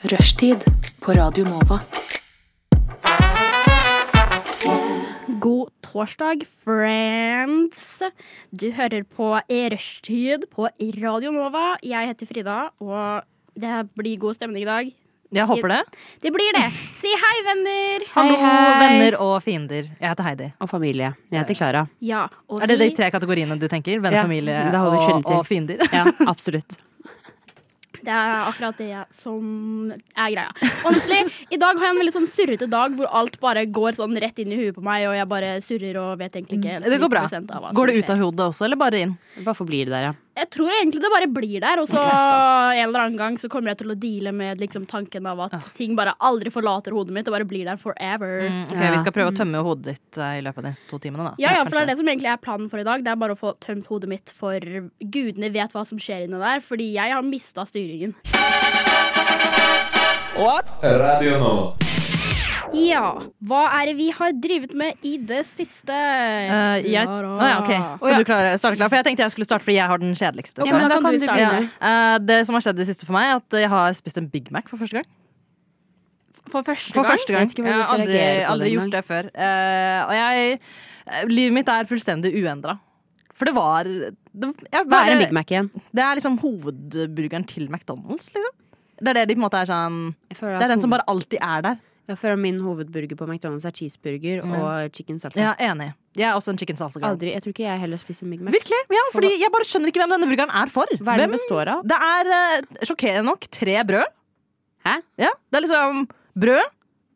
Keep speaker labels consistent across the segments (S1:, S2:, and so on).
S1: Rushtid på Radio Nova.
S2: God torsdag, friends. Du hører på Rushtid på Radio Nova. Jeg heter Frida, og det blir god stemning i dag.
S3: Jeg håper det.
S2: Det blir det. Si hei, venner.
S3: Hallo,
S4: hei.
S3: venner og fiender. Jeg heter Heidi.
S4: Og familie. Jeg heter Klara.
S2: Ja, og
S3: Er det de
S2: vi,
S3: tre kategoriene du tenker? Venner,
S4: Ja,
S3: familie
S4: det holder skjønner
S3: og,
S4: til.
S3: og fiender?
S4: Ja, absolutt.
S2: det er akkurat det jeg- som er greia. Honestly, i dag har jeg en veldig sånn surrete dag hvor alt bare går sånn rett inn i huet på meg, og jeg bare surrer og vet egentlig ikke
S3: Mm. Det går bra.
S2: 90% av hva
S3: Går det
S2: som
S3: ut av hodet også, eller bare inn?
S4: Bare forblir det der, ja.
S2: Jeg tror egentlig det bare blir der, og så en eller annen gang så kommer jeg til å deale med liksom, tanken av at ting bare aldri forlater hodet mitt, det bare blir der forever.
S3: Mm, ok,
S4: Ja.
S3: Vi skal prøve å tømme hodet ditt eh, i løpet av de neste to timene, da.
S2: Ja, ja, for det
S3: kanskje.
S2: er det som egentlig er planen for i dag. Det er bare å få tømt hodet mitt for gudene vet hva som skjer inni der, fordi jeg har mista styringen.
S5: Radio Nova.
S2: Ja, hva er det vi har drevet med i det siste?
S3: Eh, jeg,
S2: Klara.
S3: Å ja, ok. Skal du klare, starte klar? For jeg tenkte jeg skulle starte fordi jeg har den kjedeligste.
S2: Ja, men da kan du starte.
S3: Ja. Eh, det som har skjedd det siste for meg, er at jeg har spist en Big Mac for første gang.
S2: For første
S3: For
S2: gang?
S3: første gang.
S4: Jeg vet ikke
S3: Jeg
S4: hvordan du
S3: har
S4: skal
S3: aldri,
S4: reagere på
S3: aldri
S4: det
S3: gjort det før. Eh, og jeg eh, Livet mitt er fullstendig uendra. For det var det, jeg
S4: Hva er
S3: bare-
S4: en Big Mac igjen?
S3: Det er liksom hovedburgeren til McDonald's, liksom. Det er det de på en måte er sånn
S4: Jeg føler,
S3: Det er
S4: at
S3: den som
S4: hoved-
S3: bare alltid er der.
S4: jeg føler at min hovedburger på McDonald's er cheeseburger og chicken salsa.
S3: Ja, enig. Jeg er også en chicken salsa girl.
S4: Aldri, jeg tror ikke jeg heller spiser Big Mac.
S3: Virkelig? Ja, fordi jeg bare skjønner ikke hvem denne burgeren er for.
S4: Hva er det
S3: Hvem-
S4: den består av?
S3: Det er eh, sjokkerende nok tre brød.
S4: Hæ?
S3: Ja, det er liksom brød,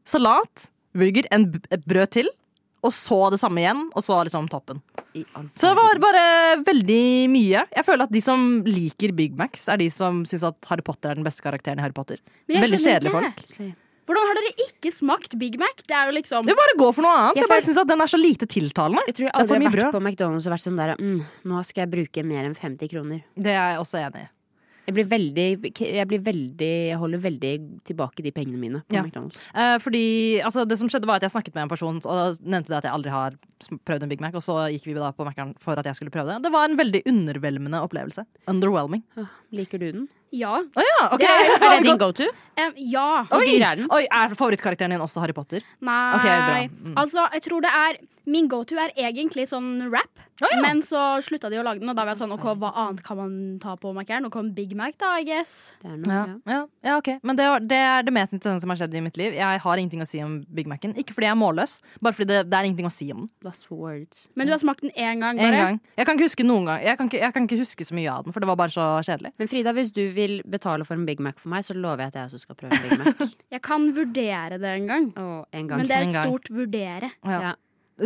S3: salat, burger, en b et brød til, og så det samme igjen, og så liksom toppen.
S4: I all
S3: Så det var
S4: verden.
S3: bare veldig mye. Jeg føler at de som liker Big Macs, er de som syns at Harry Potter er den beste karakteren i Harry Potter.
S2: Men jeg
S3: Veldig
S2: skjønner
S3: kjedelige
S2: ikke.
S3: folk.
S2: Hvordan har dere ikke smakt Big Mac? Det er jo liksom
S3: Det er bare å gå for noe annet.
S4: Jeg
S3: Jeg bare synes at Den er så lite tiltalende.
S4: Jeg tror jeg
S3: er for
S4: aldri har
S3: mye
S4: vært
S3: brød.
S4: på McDonald's og vært sånn der mm, Nå skal jeg bruke mer enn 50 kroner.
S3: Det er jeg også enig i.
S4: Jeg blir veldig Jeg, blir veldig, jeg holder veldig tilbake de pengene mine på
S3: Ja.
S4: McDonald's.
S3: Eh, fordi altså, Det som skjedde var at jeg snakket med en person og da nevnte det at jeg aldri har sm- prøvd en Big Mac. Og så gikk vi da på Mac-en for at jeg skulle prøve det. Det var en veldig undervelmende opplevelse. Underwhelming.
S4: Åh, Ah, Liker du den?
S2: Ja.
S3: Ja, ok
S4: Er det din go to?
S2: Em, ja.
S3: Oi,
S4: dyr er den?
S3: oi, er favorittkarakteren din også Harry Potter?
S2: Nei.
S3: Ok, bra. Mm.
S2: Altså, jeg tror det er Min go to er egentlig sånn rap,
S3: Å, ja.
S2: men så slutta de å lage den, og da var jeg sånn OK, hva annet kan man ta på Mac-eren? Og kom Big Mac, da, I guess.
S4: Det er noe,
S3: Ja,
S4: ja.
S3: ja, ja ok Men det, var, det er det mest interessante som har skjedd i mitt liv. Jeg har ingenting å si om Big Mac-en. Ikke fordi jeg er målløs, bare fordi det, det er ingenting å si om den.
S4: Last for words.
S2: Men du har smakt den én gang,
S3: En
S2: bare.
S3: gang. Jeg kan ikke huske noen gang Jeg kan ikke, jeg kan ikke huske så mye av den, for det var bare så kjedelig.
S4: Men Frida, hvis du vil betale for en Big Mac for meg, så lover jeg at jeg også skal prøve en Big Mac.
S2: Jeg kan vurdere det en gang.
S4: Og en gang.
S2: Men det er
S3: En
S2: et
S3: gang.
S2: stort vurdere.
S3: Ja.
S4: Ja.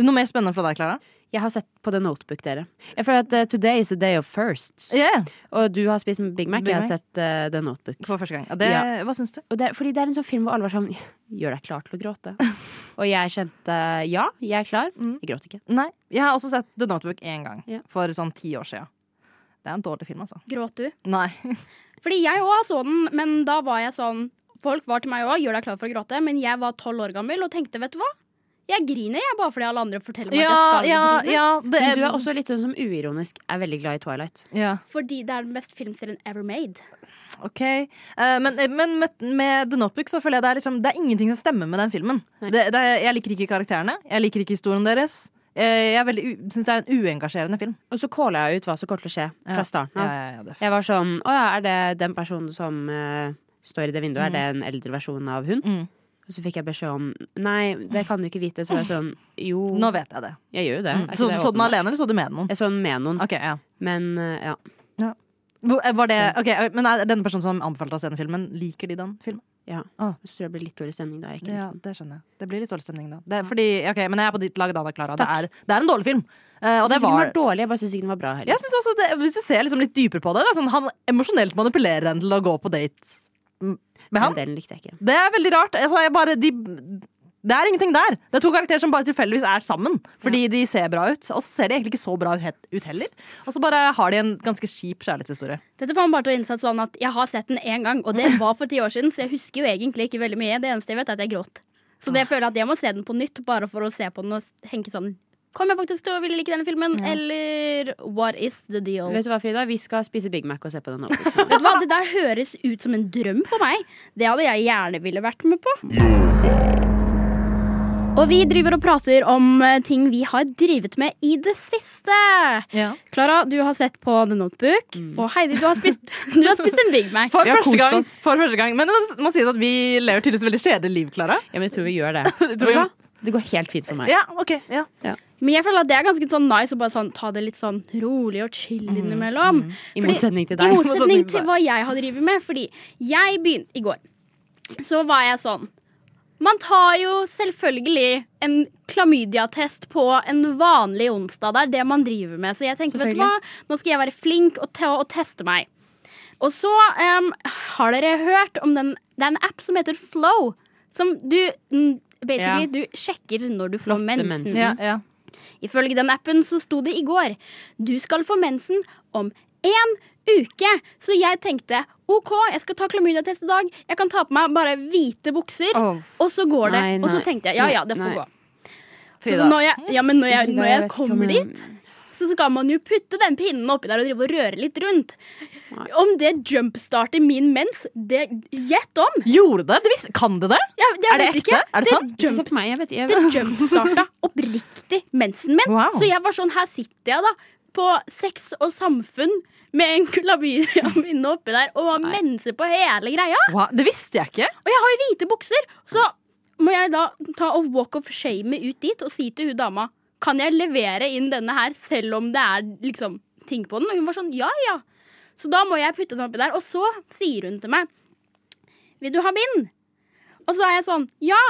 S3: Noe mer spennende fra deg, Klara?
S4: Jeg har sett på The Notebook, dere. Jeg føler at eh, today is a day of firsts.
S3: Yeah.
S4: Og du har spist en Big Mac,
S3: Big
S4: jeg har
S3: Mac.
S4: sett eh, The Notebook.
S3: For første gang. Og det,
S4: Ja.
S3: Hva syns du?
S4: Og det, er- fordi det er en sånn film hvor alle var sånn Gjør deg klar til å gråte. Og jeg kjente ja, jeg er klar.
S3: Mm.
S4: Jeg gråt ikke.
S3: Nei, Jeg har også sett The Notebook én gang,
S4: Ja.
S3: for sånn ti år siden. Det er en dårlig film, altså.
S2: Gråt du?
S3: Nei.
S2: Fordi jeg òg så den, men da var jeg sånn Folk var til meg òg, gjør deg klar for å gråte, men jeg var tolv år gammel og tenkte, vet du hva? Jeg griner, jeg, bare fordi alle andre forteller meg at jeg skal grine.
S3: det
S4: Men du er også litt sånn som uironisk er veldig glad i Twilight.
S3: ja.
S2: Fordi det er den beste filmserien ever made.
S3: Ok. Eh, men men med, med The Notebook så føler jeg det er, liksom, det er ingenting som stemmer med den filmen.
S4: Nei.
S3: Det, det er, jeg liker ikke karakterene. Jeg liker ikke historien deres. Eh, jeg syns det er en uengasjerende film.
S4: Og så calla jeg ut hva som kommer til å skje
S3: Ja.
S4: fra starten
S3: Ja,
S4: av.
S3: ja, ja, det er f-
S4: Jeg var sånn Å ja, er det den personen som eh, står i det vinduet? Er det en eldre versjon av hun?
S3: Mm.
S4: Og så fikk jeg beskjed om Nei, det kan du ikke vite. Så var jeg sånn Jo,
S3: Nå vet jeg det.
S4: jeg gjør jo det.
S3: Mm.
S4: Er ikke
S3: Så,
S4: det
S3: så den
S4: åpenbart?
S3: alene, eller så du med noen?
S4: Jeg så den med noen.
S3: Ok, ja
S4: Men eh, ja.
S3: Hvor- eh, Var det, ok, eh, men er denne personen som anbefalte oss denne filmen, liker de den filmen?
S4: ja.
S3: Ah.
S4: Så tror jeg det blir litt dårlig stemning da. Jeg ikke
S3: Ja,
S4: likte den.
S3: det skjønner jeg. Det blir litt dårlig stemning da. Det er fordi, ok, men jeg er på ditt lag da, da, Klara. Det
S4: Takk.
S3: er, det er en dårlig film. Eh,
S4: Jeg
S3: og det
S4: syns ikke den
S3: var...
S4: var dårlig, jeg bare syns ikke den var bra heller.
S3: Jeg synes også, det, hvis du ser liksom litt dypere på det, det er sånn, han emosjonelt manipulerer henne til å gå på date m- med
S4: Men
S3: han.
S4: den likte jeg ikke.
S3: Det er veldig rart. Altså, jeg bare, de, det er ingenting der. Det er to karakterer som bare tilfeldigvis er sammen. Fordi de ser bra ut, og så ser de egentlig ikke så bra he- ut heller. Og så bare har de en ganske kjip kjærlighetshistorie.
S2: Dette får man bare til å innse sånn at jeg har sett den én gang, og det var for ti år siden, så jeg husker jo egentlig ikke veldig mye. Det eneste jeg vet, er at jeg gråt. Så det føler jeg at jeg må se den på nytt, bare for å se på den og s- tenke sånn Kommer jeg faktisk til å ville like denne filmen? Eller What is the deal?
S6: Vet du hva, Frida? Vi skal spise Big Mac og se på den. nå.
S2: Vet du hva, Det der høres ut som en drøm for meg. Det hadde jeg gjerne ville vært med på. Og vi driver og prater om eh, ting vi har drevet med i det siste.
S3: Ja. Mm.
S2: Klara, du har sett på The Notebook. Og Heidi, du har spist, du har spist en Big Mac.
S3: For,
S6: har
S3: første
S6: kost
S3: gang,
S6: oss.
S3: for første gang. Men det må sies at vi lever tydeligvis veldig kjedelig liv, Klara.
S6: Ja, men jeg tror vi gjør det.
S3: Det tror jeg.
S6: Vet du hva? Det går helt fint for meg.
S3: Ja, ok. Ja.
S2: Men jeg føler at det er ganske sånn nice å bare sånn, ta det litt sånn rolig og chill innimellom.
S6: Mhm, I
S2: Fordi-
S6: motsetning til
S2: I
S6: deg.
S2: motsetning
S3: motsetning til
S2: til hva jeg har drevet med. Fordi jeg begynte i går. Så var jeg sånn Man tar jo selvfølgelig en klamydiatest på en vanlig onsdag. Det er det man driver med. Så jeg tenkte, vet du hva, nå skal jeg være flink og, ta og teste meg. Og så em, har dere hørt om den Det er en app som heter Flow. Som du mm, Basically,
S6: Ja.
S2: du sjekker når du får
S6: Flotte
S2: mensen.
S6: mensen.
S3: Ja, ja.
S2: Ifølge den appen så sto det i går Du skal få mensen om én uke. Så jeg tenkte OK, jeg skal ta klamydiatest i dag. Jeg kan ta på meg bare hvite bukser,
S6: Åh.
S2: og så går det.
S6: Nei,
S2: Og så
S6: nei.
S2: tenkte jeg ja ja, det får
S6: Nei.
S2: gå. Så når jeg, ja, men når jeg,
S6: Frida,
S2: når
S6: jeg
S2: jeg
S6: vet ikke om
S2: kommer
S6: jeg-
S2: dit, så skal man jo putte den pinnen oppi der og drive og røre litt rundt. Om det jumpstarter min mens, det gjett om!
S3: Gjorde det? det? visste- Kan det det?
S2: Jeg, jeg
S3: Er det
S2: vet
S3: ekte?
S2: Ikke.
S3: Er det sant?
S6: Ikke se på meg, jeg vet, jeg
S2: Det
S6: vet.
S2: jumpstarta oppriktig mensen min.
S3: Wow.
S2: Så jeg var sånn, her sitter jeg da på sex og samfunn med en klamydia-pinne oppi der og har mensen på hele greia.
S3: Wow, det visste jeg ikke.
S2: Og jeg har jo hvite bukser, så må jeg da ta og walk of shame ut dit og si til hun dama kan jeg levere inn denne her selv om det er liksom ting på den? Og hun var sånn ja, ja. Så da må jeg putte den oppi der. Og så sier hun til meg vil du ha bind? Og så er jeg sånn ja.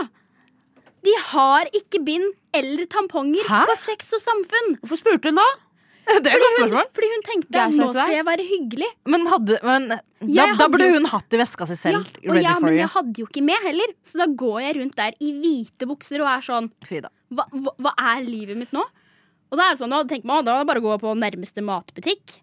S2: De har ikke bind eller tamponger
S3: Hæ?
S2: på sex og samfunn.
S6: Hvorfor spurte hun da?
S3: Det er et godt
S2: Hun,
S3: spørsmål.
S2: fordi hun tenkte
S6: Det er så
S2: nå
S6: vet du
S2: skal
S6: hva.
S2: jeg være hyggelig.
S3: Men, hadde, men da,
S2: Jeg
S3: da
S2: hadde
S3: burde
S2: jo-
S3: hun hatt i veska si selv.
S2: ja, og
S3: ready
S2: jeg,
S3: for
S2: men
S3: you.
S2: jeg hadde jo ikke med heller, så da går jeg rundt der i hvite bukser og er sånn
S3: Frida.
S2: hva, hva, hva er livet mitt nå? Og da er det sånn, da tenker man, «Å, da er det bare å gå på nærmeste matbutikk.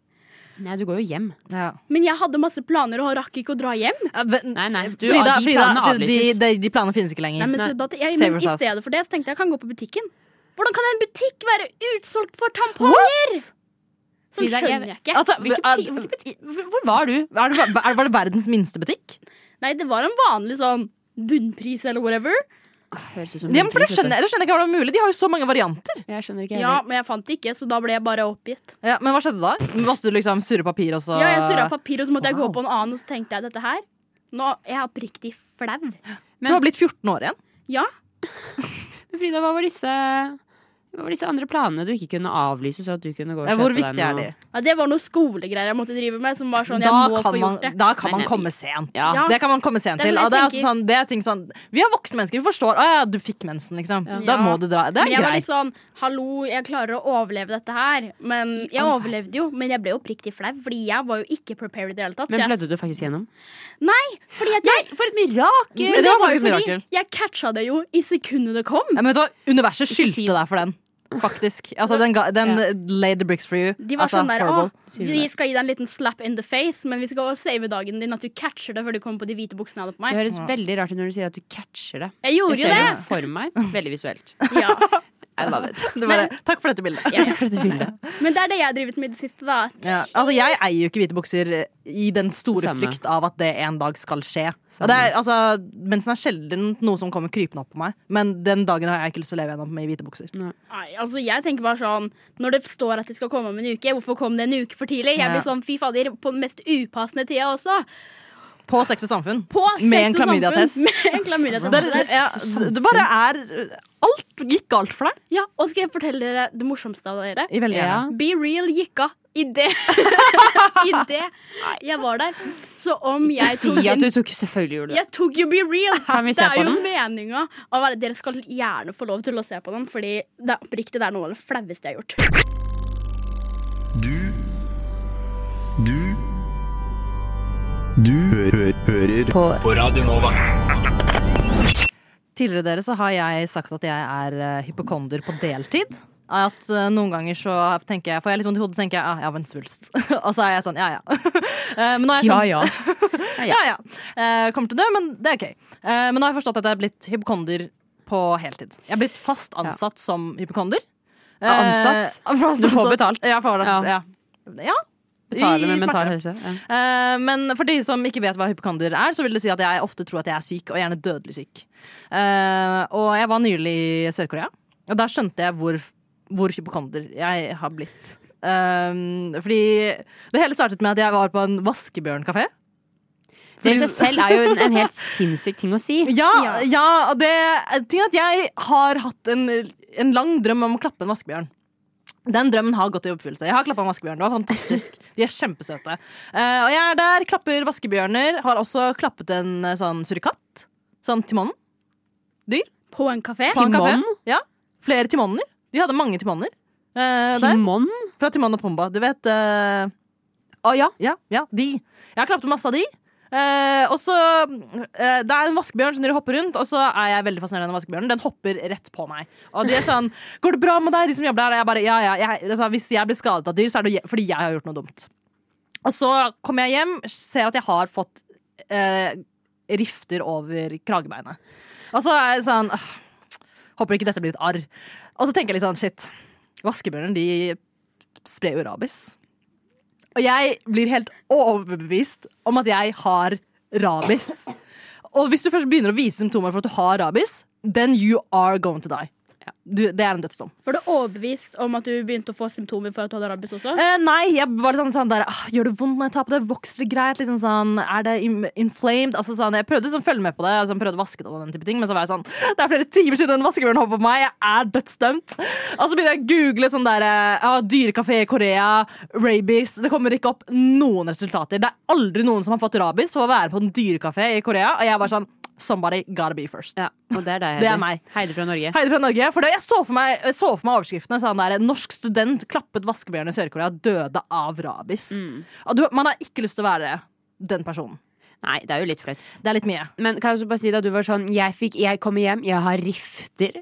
S6: Nei, du går jo hjem.
S3: Ja.
S2: Men jeg hadde masse planer og rakk ikke å dra hjem.
S3: Frida,
S6: Nei, nei. Du,
S3: Frida,
S6: de planene
S3: Frida, de,
S6: avlyses.
S3: de, de planene finnes ikke lenger.
S2: Nei, men, så, da, jeg,
S3: Save
S2: men I
S3: yourself.
S2: stedet for det så tenkte jeg jeg kan gå på butikken. Hvordan kan en butikk være utsolgt for tamponger?! Sånn
S6: Frida, jeg-
S2: skjønner jeg ikke.
S3: Altså,
S2: Hvilken
S3: er-
S2: butikk- hvilken butikk?
S3: hvor var du? Er det, er, var det verdens minste butikk?
S2: Nei, det var en vanlig sånn bunnpris eller whatever.
S6: Høres ut som
S3: Ja, men for det
S6: hundre,
S3: skjønner, jeg- det skjønner jeg ikke hvordan det er mulig. De har jo så mange varianter.
S6: Jeg skjønner ikke
S2: Ja, men jeg fant det ikke, så da ble jeg bare oppgitt.
S3: Ja, men hva skjedde da? Måtte du liksom surre papir og så
S2: Ja, jeg surra papir, og så måtte jeg gå
S3: Wow.
S2: på en annen, og så tenkte jeg dette her. Nå er jeg oppriktig flau.
S3: Du har blitt 14 år igjen.
S2: Ja.
S6: Men Frida, hva var disse hva var disse andre planene du ikke kunne avlyse? Så at du kunne gå og
S3: Ja,
S6: kjøpe
S3: Hvor
S6: deg
S3: viktig er de?
S6: noe?
S2: Ja, det var noen skolegreier jeg måtte drive med. Som var sånn, jeg må
S3: kan
S2: få
S3: man,
S2: gjort det
S3: da kan
S6: Men
S3: man
S6: jeg-
S3: komme sent.
S6: Ja.
S2: Ja.
S3: Det kan man komme sent
S2: Det er
S3: til.
S2: det
S3: Og det er altså
S2: jeg tenker.
S3: sånn, det er ting sånn, vi er voksne mennesker, vi forstår. Å ja, du fikk mensen, liksom. Da
S2: Ja.
S3: må du dra. Det
S2: Men
S3: er
S2: jeg var
S3: greit.
S2: litt sånn Hallo, jeg klarer å overleve dette her. Men jeg overlevde jo, men jeg ble oppriktig flau, fordi jeg var jo ikke prepared i det hele tatt.
S6: Men
S2: så jeg,
S6: blødde du faktisk gjennom?
S2: fordi at jeg,
S6: For et mirakel!
S3: Men
S2: men
S3: det
S2: det
S3: var
S2: var jo
S3: faktisk et
S2: fordi
S3: mirakel.
S2: jeg catcha det jo i sekundet det kom.
S3: Ja, men vet du hva? Universet
S6: Ikke si
S3: skyldte deg for den. Faktisk. Altså, den ga, den eh, laid the bricks for you.
S2: De var
S3: altså,
S2: sånn der Å,
S3: horrible.
S6: Sier du
S2: vi
S6: det?
S2: skal gi deg en liten slap in the face, men vi skal også save dagen din, at du catcher det før du kommer på de hvite buksene jeg hadde på
S6: Det
S2: meg.
S6: høres veldig rart ut når du sier at du catcher det.
S2: Jeg gjorde
S6: Jeg
S2: jo
S6: ser
S2: det!
S6: det for meg. Veldig visuelt.
S2: Ja.
S6: I love it.
S3: Det bare, takk for dette bildet.
S6: Jeg liker dette bildet.
S2: Men det er det jeg har drevet med i det siste, da.
S3: Ja. Altså, jeg eier jo ikke hvite bukser eh, i den store
S6: Samme.
S3: frykt av at det en dag skal skje.
S6: Samme.
S3: Og det er, altså, mensen er sjelden noe som kommer krypende opp på meg, men den dagen har jeg ikke lyst til å leve gjennom med hvite bukser.
S2: Nei, altså jeg tenker bare sånn Når det står at det skal komme om en uke, hvorfor kom det en uke for tidlig? Jeg
S3: Ja.
S2: blir sånn fy fader, på den mest upassende tida også.
S3: På Sex og Samfunn.
S2: På
S3: med en
S2: sex og samfunn,
S3: klamydiatest.
S2: Med en
S3: Det, er-
S2: klamydiatest.
S3: ja, det bare er eh, Alt gikk galt for deg.
S2: Ja, og skal jeg fortelle dere det morsomste av dere?
S3: I veldig
S6: Ja.
S3: gjerne.
S2: Be real gikk av. I det. I det jeg var der. Så om jeg
S6: Si
S2: tok
S6: at
S2: en
S6: du tok Selvfølgelig gjorde du det.
S2: jeg tok jo Be Real!
S6: Kan vi se
S2: Det er
S6: på
S2: jo
S6: den?
S2: meninga. å være- Dere skal gjerne få lov til å se på den, Fordi det er oppriktig det er noe av det flaueste jeg har gjort.
S5: Du Du Du hø hø hører på, på Radio Nova.
S3: Tidligere dere så har jeg sagt at jeg er eh, hypokonder på deltid. At eh, Noen ganger så tenker jeg, får jeg litt vondt i hodet tenker jeg ah, jeg har en svulst. Og så er jeg sånn ja ja. Eh, men nå er jeg
S6: Ja
S3: sånn,
S6: ja.
S3: ja, ja. Eh, kommer til det, men det er ok. Eh, men nå har jeg forstått at jeg er blitt hypokonder på heltid. Jeg er blitt fast ansatt som hypokonder. Eh,
S6: ansatt.
S3: fast
S6: Du får
S3: ansatt.
S6: betalt.
S3: Ja, får det.
S6: Ja.
S3: Ja. ja.
S6: Betaler
S3: I- i
S6: med
S3: smerter.
S6: mental helse. Ja.
S3: Eh, men for de som ikke vet hva hypokonder er, så vil det si at jeg ofte tror at jeg er syk, og gjerne dødelig syk. Eh, og jeg var nylig i Sør-Korea, og da skjønte jeg hvor, hvor hypokonder jeg har blitt. Eh, fordi det hele startet med at jeg var på en vaskebjørnkafé.
S6: Det i seg selv er jo en, en helt sinnssyk ting å si.
S3: Ja, ja og det ting er at jeg har hatt en, en lang drøm om å klappe en vaskebjørn. Den drømmen har gått i oppfyllelse. Jeg har klappa en vaskebjørn. Det var fantastisk. De er kjempesøte. Eh, og jeg er der, klapper vaskebjørner. Har også klappet en eh, sånn surikat. Sånn timonnen.
S2: På en kafé?
S3: På en kafé.
S6: Timon?
S3: Ja. Flere timonner. De hadde mange timonner. eh, der.
S6: Timon?
S3: Fra Timon og Pumba. Du vet eh,
S6: Å ja.
S3: Ja, ja, de. Jeg har klappet masse av de. Eh, og så eh, Det er en vaskebjørn som driver og hopper rundt, og så er jeg veldig fascinert av den vaskebjørnen. Den hopper rett på meg. Og de er sånn 'Går det bra med deg?' De som jobber der. Og jeg bare, ja, ja, jeg, altså, hvis jeg blir skadet av dyr, så er det je- fordi jeg har gjort noe dumt. Og så kommer jeg hjem, ser at jeg har fått eh, rifter over kragebeinet. Og så er jeg sånn «Åh, Håper ikke dette blir et arr. Og så tenker jeg litt sånn shit. Vaskebjørner, de sprer jo rabies. Og jeg blir helt overbevist om at jeg har rabies. Og hvis du først begynner å vise symptomer for at du har rabies, then you are going to die. Du, det er en dødsdom.
S2: Var du overbevist om at du begynte å få symptomer for at du hadde rabies også?
S3: Eh, nei, jeg var litt sånn, sånn der ah, Gjør det vondt når jeg tar på det? Vokser det greit? Liksom sånn, er det im- inflamed? Altså, sånn, jeg prøvde liksom, å følge med på det, altså, prøvde å vaske det og den type ting, men så var jeg sånn Det er flere timer siden den vaskebjørnen hoppet på meg, jeg er dødsdømt. Og så begynner jeg å google sånn der eh, ja, dyrekafé i Korea, rabies Det kommer ikke opp noen resultater. Det er aldri noen som har fått rabies for å være på en dyrekafé i Korea, og jeg var sånn Somebody gotta be first.
S6: ja. Og det er deg, Heidi.
S3: Det er meg.
S6: Heidi fra Norge.
S3: Heidi fra Norge. For det, jeg, så for meg, jeg så for meg overskriftene. Sånn der, Norsk student klappet vaskebjørn i Sør-Korea, døde av rabies.
S6: Mm.
S3: Og Du, man har ikke lyst til å være den personen.
S6: Nei, det er jo litt flaut.
S3: Det er litt mye.
S6: Men kan jeg også bare si da du var sånn Jeg, fikk, jeg kommer hjem, jeg har rifter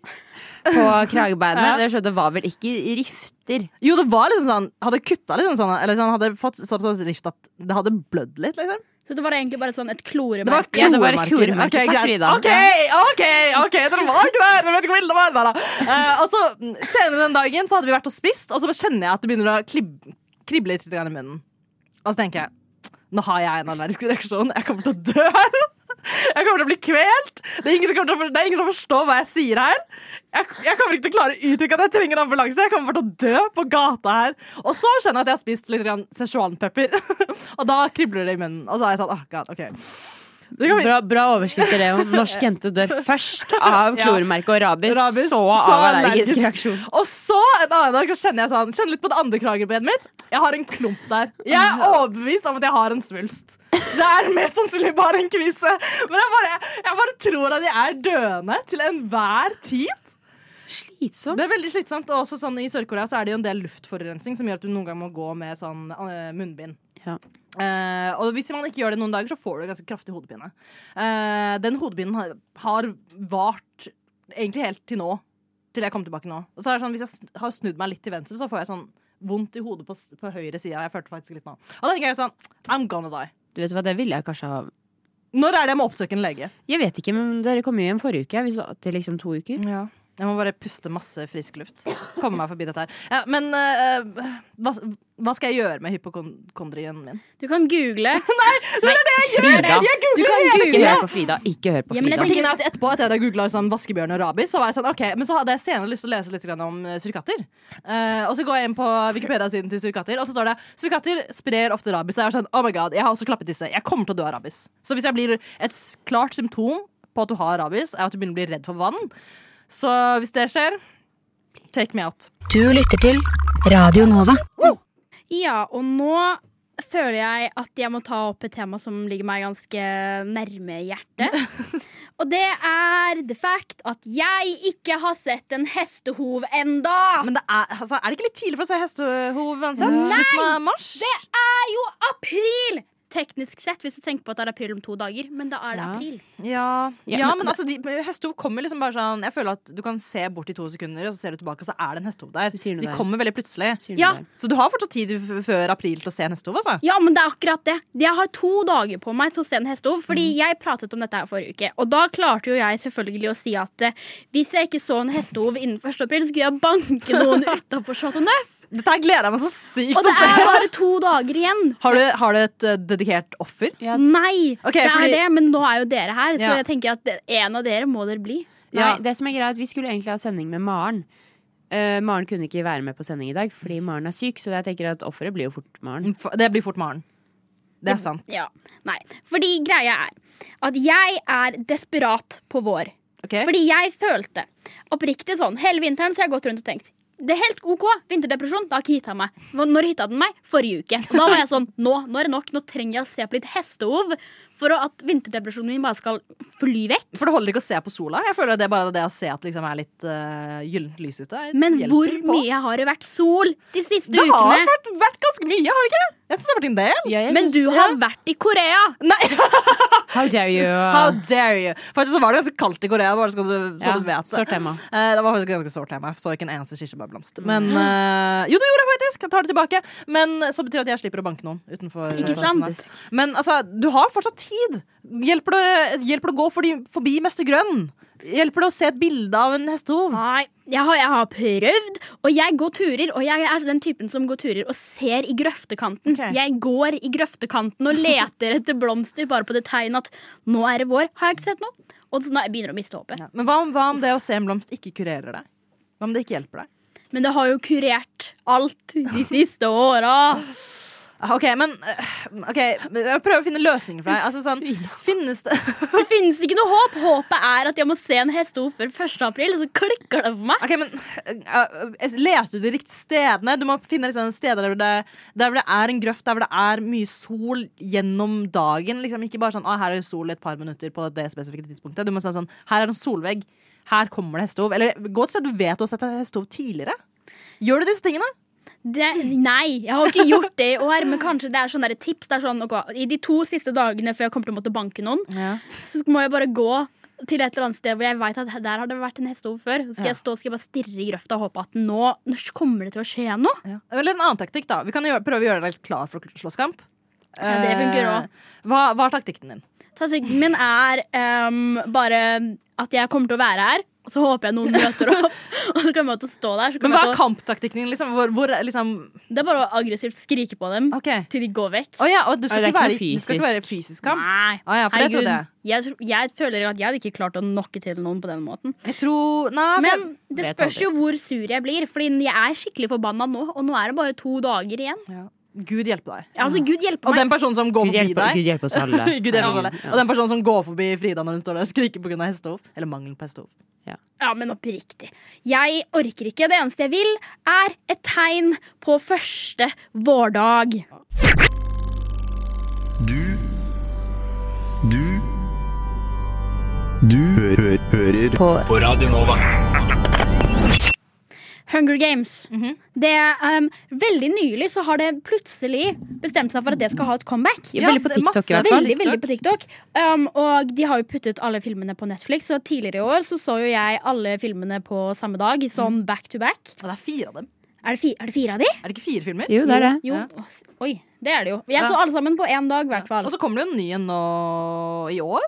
S6: på kragebeinet.
S3: Ja.
S6: Jeg skjønte det var vel ikke rifter.
S3: Jo, det var liksom sånn Hadde kutta litt sånn, eller sånn, hadde fått sånn sånn rift at det hadde blødd litt, liksom.
S2: Så det var egentlig bare et sånn, et
S3: Det var
S2: kloremerke.
S6: Ja, det var et
S3: kloremerker.
S6: kloremerke.
S3: Ok,
S6: Takk,
S3: greit.
S6: Frida.
S3: OK, OK! ok, Dere var ikke der! Dere vet ikke hvor ille det var. da, da. Eh, og så, mm, senere den dagen så hadde vi vært og spist, og så kjenner jeg at det begynner å klib krible litt grann i munnen. Og så tenker jeg nå har jeg en allergisk reaksjon. Jeg kommer til å dø her. Jeg kommer til å bli kvelt. Det er ingen som, kommer til å, for- det er ingen som forstår hva jeg sier her. Jeg, jeg kommer ikke til å klare å uttrykke at jeg trenger ambulanse. Jeg kommer bare til å dø på gata her. Og så skjønner jeg at jeg har spist litt grann Szechuanpepper. og da kribler det i munnen. Og så er jeg sånn åh, god, ok. Det kan vi-
S6: Bra, bra overskrifter, det. om Norsk jente dør først av
S3: Ja.
S6: kloremerke og rabies,
S3: Rabies,
S6: så
S3: så
S6: av allergisk
S3: allergisk.
S6: reaksjon.
S3: Og så en annen dag så kjenner jeg sånn Kjenner litt på det andre kragebeinet mitt. Jeg har en klump der. Jeg er overbevist om at jeg har en svulst. Det er mest sannsynlig bare en kvise. Men jeg bare, jeg bare tror at jeg er døende til enhver tid.
S6: Slitsom.
S3: Det er veldig slitsomt. Og også sånn i Sør-Korea så er det jo en del luftforurensning som gjør at du noen gang må gå med sånn eh, munnbind.
S6: Ja.
S3: Eh, og hvis man ikke gjør det noen dager, så får du ganske kraftig hodepine. Eh, den hodepinen har, har vart egentlig helt til nå. Til jeg kom tilbake nå. Og så er det sånn, Hvis jeg sn- har snudd meg litt til venstre, så får jeg sånn vondt i hodet på, s- på høyre side. Jeg følte faktisk litt nå. Og da tenker jeg sånn I'm gonna die.
S6: Du vet hva, det ville jeg kanskje ha
S3: Når er det jeg må oppsøke en lege?
S6: Jeg vet ikke, men dere kom jo hjem forrige uke. Vi så til liksom to uker.
S3: Jeg må bare puste masse frisk luft. Komme meg forbi dette her. Ja, men eh, hva, hva skal jeg gjøre med hypokondrien min?
S2: Du kan google.
S6: Frida!
S2: Du kan
S6: Ikke
S2: google.
S6: hør på Frida. Ikke hør på
S2: Ja, men
S6: Frida.
S2: jeg
S3: Tingen er at etterpå etter jeg hadde googla sånn, vaskebjørn og rabies, så var jeg sånn, ok, men så hadde jeg senere lyst til å lese litt grann om eh, surikatter. Eh, og så går jeg inn på Wikipedia-siden til surikatter, og så står det surikatter sprer ofte rabies. Og jeg er sånn, oh my god, jeg har også klappet disse. Jeg kommer til å dø av rabies. Så hvis jeg blir et s- klart symptom på at du har rabies, er at du begynner å bli redd for vann. Så hvis det skjer, take me out.
S4: Du lytter til Radio Nova.
S2: Ja, og nå føler jeg at jeg må ta opp et tema som ligger meg ganske nærme hjertet. Og det er the fact at jeg ikke har sett en hestehov enda.
S3: Men det er, altså, er det ikke litt tidlig for å se hestehov uansett?
S2: Nei!
S3: Slutten av mars?
S2: Det er jo april! teknisk sett, hvis du tenker på at det er april om to dager. Men da er det
S6: Ja.
S2: april.
S3: Ja, ja,
S6: Ja,
S3: men, altså, de, hestehov kommer liksom bare sånn Jeg føler at du kan se bort i to sekunder, og så ser du tilbake, og så er det en hestehov der.
S6: Du sier noe
S3: De
S6: der.
S3: kommer veldig plutselig.
S6: Sier du
S2: Ja.
S6: det?
S3: Så du har fortsatt tid f- før april til å se neste år, altså?
S2: Ja, men det er akkurat det. Jeg har to dager på meg til å se en hestehov. Fordi
S3: Mm.
S2: jeg pratet om dette her forrige uke. Og da klarte jo jeg selvfølgelig å si at eh, hvis jeg ikke så en hestehov innen 1. april, så skulle jeg banke noen utafor Chateau Neuf.
S3: Dette her gleder jeg meg så sykt
S2: Og
S3: til
S2: det
S3: å se!
S2: er bare to dager igjen.
S3: Har du, har du et eh, dedikert offer?
S6: Ja.
S2: Nei,
S3: Ok,
S2: det
S3: fordi-
S2: er det, men nå er jo dere her, så
S3: Ja.
S2: jeg tenker at det- en av dere må dere bli.
S6: Nei,
S3: Ja.
S6: det som er greit, vi skulle egentlig ha sending med Maren. Eh, Maren kunne ikke være med på sending i dag fordi Maren er syk, så jeg tenker at offeret blir jo fort Maren.
S3: For- Det blir fort Maren. Det er sant.
S2: Ja, nei. Fordi greia er at jeg er desperat på vår.
S3: Ok?
S2: Fordi jeg følte oppriktig sånn hele vinteren, så jeg har gått rundt og tenkt det er helt OK. Vinterdepresjon. Det har ikke hitta meg. Hva- Når hitta den meg? Forrige uke. Og da var jeg sånn Nå nå er det nok. Nå trenger jeg å se på litt hestehov for å- at vinterdepresjonen min bare skal fly vekk.
S3: For det holder ikke å se på sola. Jeg føler det er bare det å se at det liksom er litt uh, gyllent lys ute. Det
S2: Men
S3: hjelper
S2: hvor
S3: på.
S2: mye har det vært sol de siste
S3: Det har
S2: ukene?
S3: vært, vært ganske mye, har det ikke? Jeg syns det har vært en del.
S6: Ja, jeg
S2: Men
S6: synes-
S2: du har vært i Korea!
S3: Nei,
S6: How dare you?
S3: how dare you! Faktisk så var det ganske kaldt i Korea, bare så du, så
S6: Ja,
S3: du vet det.
S6: Sårt tema.
S3: Eh, det var faktisk ganske sårt hjemme. Jeg så ikke en eneste kirsebærblomst. Men eh, Jo, det gjorde jeg faktisk! Jeg tar det tilbake. Men så betyr det at jeg slipper å banke noen utenfor. eh,
S2: Ikke sant?
S3: sånn her. Men altså, du har fortsatt tid! Hjelper det, hjelper det å gå fordi, forbi Mester Grønn? Hjelper det å se et bilde av en hestehov?
S2: Nei, jeg har, jeg har prøvd, og jeg går turer. Og jeg er den typen som går turer og ser i grøftekanten.
S3: Ok.
S2: Jeg går i grøftekanten og leter etter blomster bare på det tegnet at nå er det vår. Har jeg ikke sett noe? Og nå begynner jeg å miste håpet.
S3: Ja. Men hva om, hva om det å se en blomst ikke kurerer deg? Hva om det ikke hjelper deg?
S2: Men det har jo kurert alt de siste åra.
S3: Ah, OK, men eh, OK, jeg prøver å finne løsninger for deg. Altså sånn Finnes det
S2: Det finnes ikke noe håp. Håpet er at jeg må se en hestehov før 1. april, og så klikker det for meg.
S3: Ok, men uh, uh, Leter du de riktige stedene? Du må finne liksom steder der hvor, det, der hvor det er en grøft, der hvor det er mye sol gjennom dagen. Liksom. Ikke bare sånn ah, 'her er det sol i et par minutter' på det spesifikke tidspunktet. Du må si sånn 'her er det en solvegg', her kommer det hestehov. Eller gå et sted du vet du har sett et hestehov tidligere. Gjør du disse tingene?
S2: Det, nei, jeg har ikke gjort det i år, men kanskje det er sånne der tips. Det er sånn, ok, I de to siste dagene før jeg kommer til å måtte banke noen, så må jeg bare gå til et eller annet sted hvor jeg vet at der har det vært en hestehov før. Så skal
S3: Ja.
S2: jeg stå skal jeg bare stirre i grøfta og håpe at nå, nå kommer det til å skje noe.
S3: Eller en annen taktikk, da. Vi kan gjøre, prøve å gjøre deg litt klar for slåsskamp.
S2: Ja, det funker
S3: Eh,
S2: også.
S3: Hva, hva er taktikken din?
S2: Strategien min er ehm, bare at jeg kommer til å være her, og så håper jeg noen møter opp. og så kommer jeg til å stå der. Så
S3: Men
S2: kommer
S3: hva
S2: jeg
S3: er
S2: til
S3: kamptaktikken din? Liksom? Hvor, hvor liksom
S2: å, det er bare å aggressivt skrike på dem
S3: OK.
S2: til de går vekk.
S3: Å ja, og du skal,
S6: Nei, det
S3: ikke
S6: er
S3: være,
S6: ikke noe
S3: du skal ikke være i fysisk kamp?
S2: Nei.
S3: Å ja, for det
S2: Herregud,
S3: trodde jeg.
S2: jeg, tro- jeg føler at jeg hadde ikke klart å knocke til noen på den måten.
S3: Jeg tror Nei, for
S2: Men det
S6: vet
S2: spørs
S6: aldri.
S2: jo hvor sur jeg blir, Fordi jeg er skikkelig forbanna nå. Og nå er det bare to dager igjen.
S3: jeg, Gud hjelpe deg.
S2: Altså, Gud hjelpe
S3: Og
S2: meg.
S3: den personen som går
S6: Gud
S3: forbi
S6: hjelpe,
S3: deg
S6: Gud hjelpe oss alle.
S3: Gud hjelpe oss alle.
S6: Ja.
S3: Og den personen som går forbi Frida når hun står der og skriker pga. hestehov. Eller mangelen på hestehov.
S2: Ja, men oppriktig. Jeg orker ikke. Det eneste jeg vil, er et tegn på første vårdag.
S5: Du Du Du hø hø hører på. på Radio Nova.
S2: Hunger Games.
S3: Mhm.
S2: Det um, Veldig nylig så har det plutselig bestemt seg for at det skal ha et comeback.
S6: Ja, veldig på
S3: det er
S6: TikTok i
S3: masse-
S6: hvert fall.
S2: Veldig, veldig på TikTok. Um, og de har jo puttet alle filmene på Netflix, og tidligere i år så, så jo jeg alle filmene på samme dag, sånn back to back.
S3: Og det er fire av dem.
S2: Er det, fi, er det fire av de?
S3: Er det ikke fire filmer?
S6: Jo, det er det.
S2: Jo,
S3: Ja.
S2: å, s- Oi, det er det jo. Jeg
S3: Ja.
S2: så alle sammen på én dag, i hvert fall.
S3: Og så kommer det jo en ny en nå i år.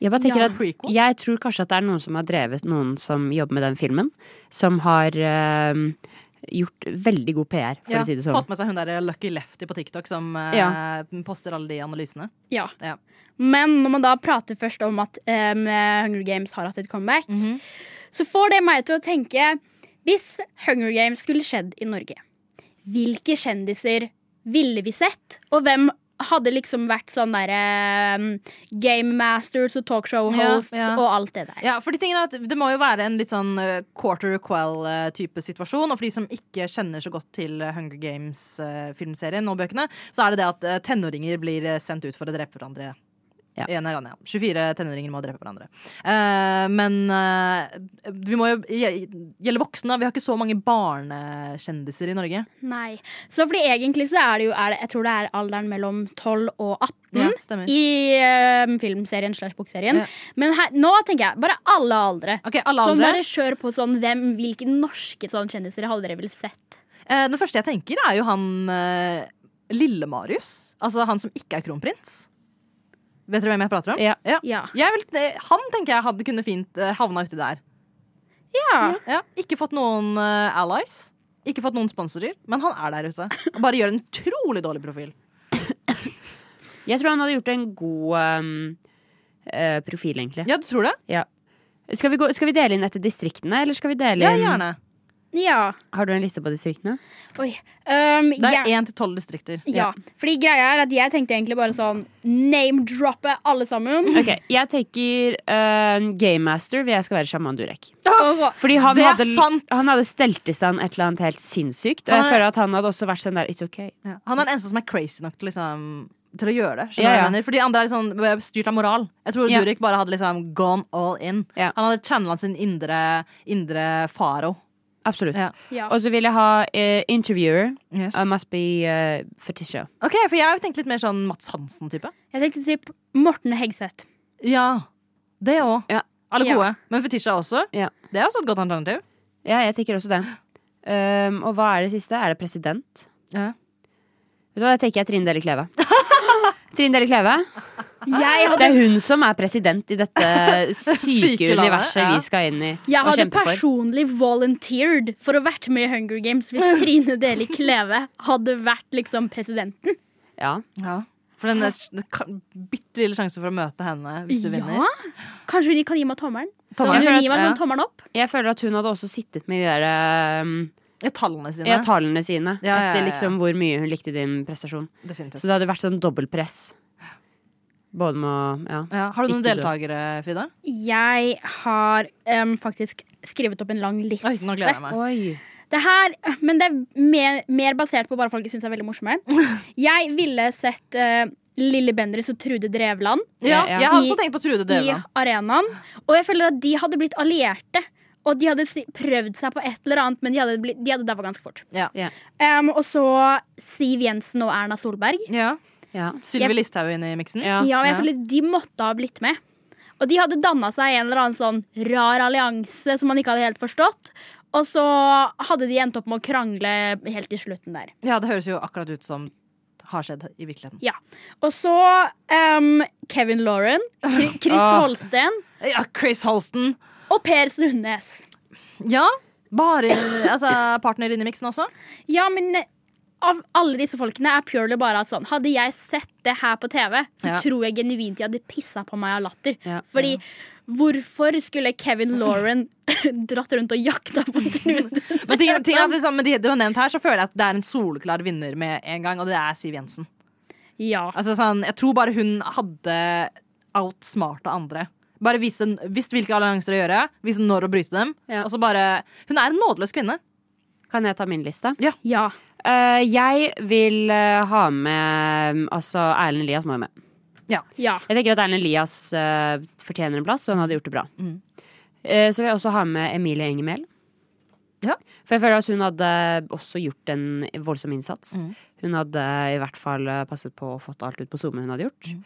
S6: Jeg bare tenker
S2: Ja.
S6: at
S3: Prequel.
S6: Jeg tror kanskje at det er noen som har drevet noen som jobber med den filmen, som har eh, gjort veldig god PR, for
S3: Ja.
S6: å si det sånn.
S3: Fått med seg hun der Lucky Lefty på TikTok som eh, poster alle de analysene.
S2: Ja.
S3: Ja.
S2: Men når man da prater først om at um, Hunger Games har hatt et comeback,
S3: Mhm.
S2: så får det meg til å tenke Hvis Hunger Games skulle skjedd i Norge, hvilke kjendiser ville vi sett? Og hvem hadde liksom vært sånn derre um, Game Masters og talkshow
S3: Ja,
S2: hosts
S3: ja.
S2: og alt det der.
S3: Ja, for de tingene er at Det må jo være en litt sånn eh, quarter quell-type situasjon. Og for de som ikke kjenner så godt til eh, Hunger eh, Games-filmserien og bøkene, så er det det at eh, tenåringer blir eh, sendt ut for å drepe hverandre
S6: Ja.
S3: En er Rania. 24 tenåringer må drepe hverandre. Eh, men eh, vi må jo gje- gjelde voksne. Vi har ikke så mange barnekjendiser i Norge.
S2: Nei. Så fordi egentlig så er det jo er det, Jeg tror det er alderen mellom 12 og 18
S3: Ja, stemmer.
S2: Mm. i eh, filmserien slash bokserien.
S3: Ja.
S2: Men her, nå tenker jeg bare alle aldre.
S3: Ok, alle
S2: Sånn
S3: andre.
S2: bare kjør på sånn hvem, Hvilke norske sånn kjendiser hadde dere vel sett?
S3: Eh, den første jeg tenker, er jo han eh, Lille-Marius. Altså han som ikke er kronprins. Vet dere hvem jeg prater om?
S6: Ja.
S2: Ja.
S3: Jeg vil, eh, han tenker jeg hadde kunne fint eh, havna uti der.
S2: Ja.
S3: Ja. Ikke fått noen eh, allies. Ikke fått noen sponsorer, men han er der ute. Og bare gjør en utrolig dårlig profil.
S6: Jeg tror han hadde gjort en god ehm, eh, profil, egentlig.
S3: Ja, du tror det?
S6: Skal, vi gå, skal vi dele inn etter distriktene, eller skal vi dele
S3: Ja,
S6: inn
S3: gjerne.
S2: ja.
S6: Har du en liste på distriktene?
S2: Oi. Um,
S3: Det
S2: jeg-
S3: er én til tolv distrikter.
S2: Ja. Fordi greia er at jeg tenkte egentlig bare sånn name-droppe alle sammen.
S6: Ok, Jeg tenker ehm, Game Master, hvor jeg skal være sjaman Durek.
S2: Og,
S6: Fordi han
S3: Det er
S6: hadde,
S3: sant!
S6: Han hadde stelt i stand et eller annet helt sinnssykt. Og
S3: Han
S6: jeg
S3: er-
S6: føler at han hadde også vært sånn der It's ok.
S3: Ja. Han er den eneste som er crazy nok til, liksom, til å gjøre det. Skjønner du
S6: Ja,
S3: hva
S6: ja.
S3: jeg mener? For de andre er liksom, styrt av moral. Jeg tror
S6: Ja.
S3: Durek bare hadde liksom gone all in.
S6: Ja.
S3: Han hadde channela sin indre, indre faro.
S6: Absolutt.
S3: Ja.
S2: ja.
S6: Og så vil jeg ha eh, interviewer.
S3: Yes.
S6: I must be uh, fetisha.
S3: Um, Ok, For jeg har tenkt litt mer sånn Mats Hansen-type.
S2: Jeg tenkte typ Morten Hegseth.
S3: Ja, Det òg.
S6: Ja.
S3: Alle
S2: Ja.
S3: gode. Men Fetisha også.
S6: Ja.
S3: Det er også et godt alternativ.
S6: Ja, jeg tenker også det. Ehm, og hva er det siste? Er det president?
S3: Ja.
S6: Vet du hva, Da tenker jeg Trine Delle Kleve. Trine Delle Kleve.
S2: Jeg
S6: Det
S2: hadde,
S6: er hun som er president i dette syke
S3: Syke landet,
S6: universet
S3: ja.
S6: vi skal inn i
S2: jeg
S6: og
S2: hadde
S6: kjempe for.
S2: personlig volunteered for å vært med i Hunger Games hvis Trine Deli Kleve hadde vært liksom presidenten.
S6: Ja.
S3: For den er bitte lille sjanse for å møte henne hvis du vinner.
S2: Ja! Kanskje hun kan gi meg tommelen? Kan
S3: Tommelen.
S2: hun gi meg en
S3: Ja.
S2: sånn tommelen opp?
S6: Jeg føler at hun hadde også sittet med de der ehm,
S3: Ja, tallene sine.
S6: ja, tallene sine.
S3: Ja, ja, ja,
S6: Etter
S3: ja.
S6: liksom hvor mye hun likte din prestasjon.
S3: Definitivt.
S6: Så det hadde vært sånn dobbeltpress. Både med å ja.
S3: Ja. Har du noen
S6: Ikke dø.
S3: deltakere, Frida?
S2: Jeg har em, faktisk skrevet opp en lang liste.
S3: Oi, nå gleder jeg meg.
S6: Oi.
S2: Det her, men det er mer, mer basert på bare folk jeg syns er veldig morsomme. Jeg ville sett eh, Lille Bendriss og Trude Drevland
S3: Ja,
S6: Ja, ja.
S3: Jeg har også
S2: I-
S3: tenkt på Trude
S2: i
S3: Drevland.
S2: arenaen. Og jeg føler at de hadde blitt allierte. Og de hadde si- prøvd seg på et eller annet, men de hadde, blitt, de hadde daua ganske fort.
S3: Ja.
S6: Ja.
S2: Em, og så Siv Jensen og Erna Solberg.
S3: Ja.
S6: Ja.
S3: Sylvi
S2: Jeg-
S3: Listhaug inn i miksen.
S6: Ja.
S2: Ja, og jeg føler De måtte ha blitt med. Og de hadde danna seg en eller annen sånn rar allianse som man ikke hadde helt forstått. Og så hadde de endt opp med å krangle helt i slutten der.
S3: Ja, det høres jo akkurat ut som har skjedd i virkeligheten.
S2: Og så ehm, Kevin Lauren, Chri- Chris
S3: Ah.
S2: Holsten
S3: Ja, Chris Holsten!
S2: og Per Sundnes.
S3: Ja. Bare altså, partner inn i miksen også?
S2: Ja, men eh, av alle disse folkene er purely bare at sånn Hadde jeg sett det her på TV, så
S3: Ja.
S2: tror jeg genuint de hadde pissa på meg av latter.
S6: Ja.
S2: Fordi hvorfor skulle Kevin Lauren dratt rundt og jakta på Trude?
S3: Men ting, ting er, at liksom, med de du har nevnt her, så føler jeg at det er en soleklar vinner med en gang, og det er Siv Jensen.
S2: Ja.
S3: Altså, sånn, jeg tror bare hun hadde outsmarta andre. Bare visste, visste hvilke allianser å gjøre, visste når å bryte dem.
S6: Ja.
S3: Og så bare, hun er en nådeløs kvinne.
S6: Kan jeg ta min liste?
S2: ja.
S6: Eh, jeg vil eh, ha med mm, Altså, Erlend Elias må jo med.
S2: Ja.
S6: Jeg tenker at Erlend Elias eh, fortjener en plass, og han hadde gjort det bra.
S3: Mm.
S6: Eh, så vil jeg også ha med Emilie Enger Mehl.
S3: Ja.
S6: For jeg føler at hun hadde også gjort en voldsom innsats.
S3: Mm.
S6: Hun hadde i hvert fall eh, passet på og fått alt ut på SoMe hun hadde gjort.
S3: Mm.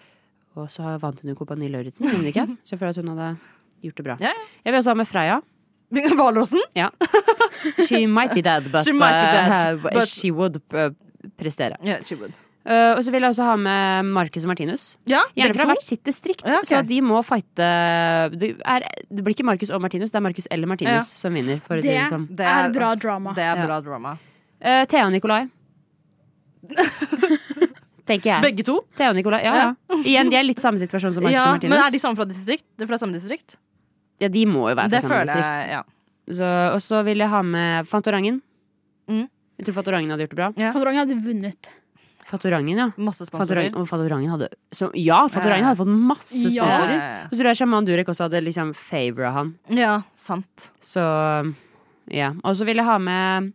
S6: Og så vant hun jo Kompani Lauritzen, gjorde hun ikke? Så jeg føler at hun hadde gjort det bra.
S3: Ja, ja.
S6: Jeg vil også ha med Freya.
S3: Hvalrossen?
S6: She might be dead, but,
S3: She might be dead,
S6: uh, but
S3: but-
S6: she would uh, prestere.
S3: Ja, she would.
S6: Uh, og så vil jeg også ha med Marcus og Martinus.
S3: Ja,
S6: Gjerne
S3: begge
S6: fra
S3: to.
S6: hvert sitt distrikt.
S3: Ja, ok.
S6: Så de må fighte det, er, det blir ikke Marcus og Martinus, det er Marcus eller Martinus
S3: Ja.
S6: som vinner. For å si
S2: Det
S6: det sånn.
S3: Det
S2: er bra drama.
S3: Det er
S6: Ja.
S3: bra drama.
S6: Uh, Thea og Nikolai. Tenker jeg.
S3: Begge to?
S6: Thea og Nikolai, ja, ja. Igjen, de er litt samme situasjon som Marcus
S3: Ja,
S6: og
S3: men er de
S6: Martinus.
S3: samme fra, distrikt? fra samme distrikt?
S6: Ja, de må jo være
S3: Det
S6: fra samme
S3: føler
S6: distrikt.
S3: jeg, ja.
S6: Så, og så vil jeg ha med Fantorangen.
S3: Mm.
S6: Jeg tror Fantorangen hadde gjort det bra.
S3: Ja.
S2: Fantorangen hadde vunnet.
S6: Fantorangen, ja.
S3: Masse sponsorer.
S6: Fantorangen, og Fantorangen hadde så, Ja, Fantorangen
S3: Ja.
S6: hadde fått masse
S2: Ja.
S3: Ja,
S6: sponsorer.
S3: ja,
S6: Og så tror jeg Sjaman Durek også hadde liksom favora han.
S3: ja. ja, sant.
S6: Så ja. Og så vil jeg ha med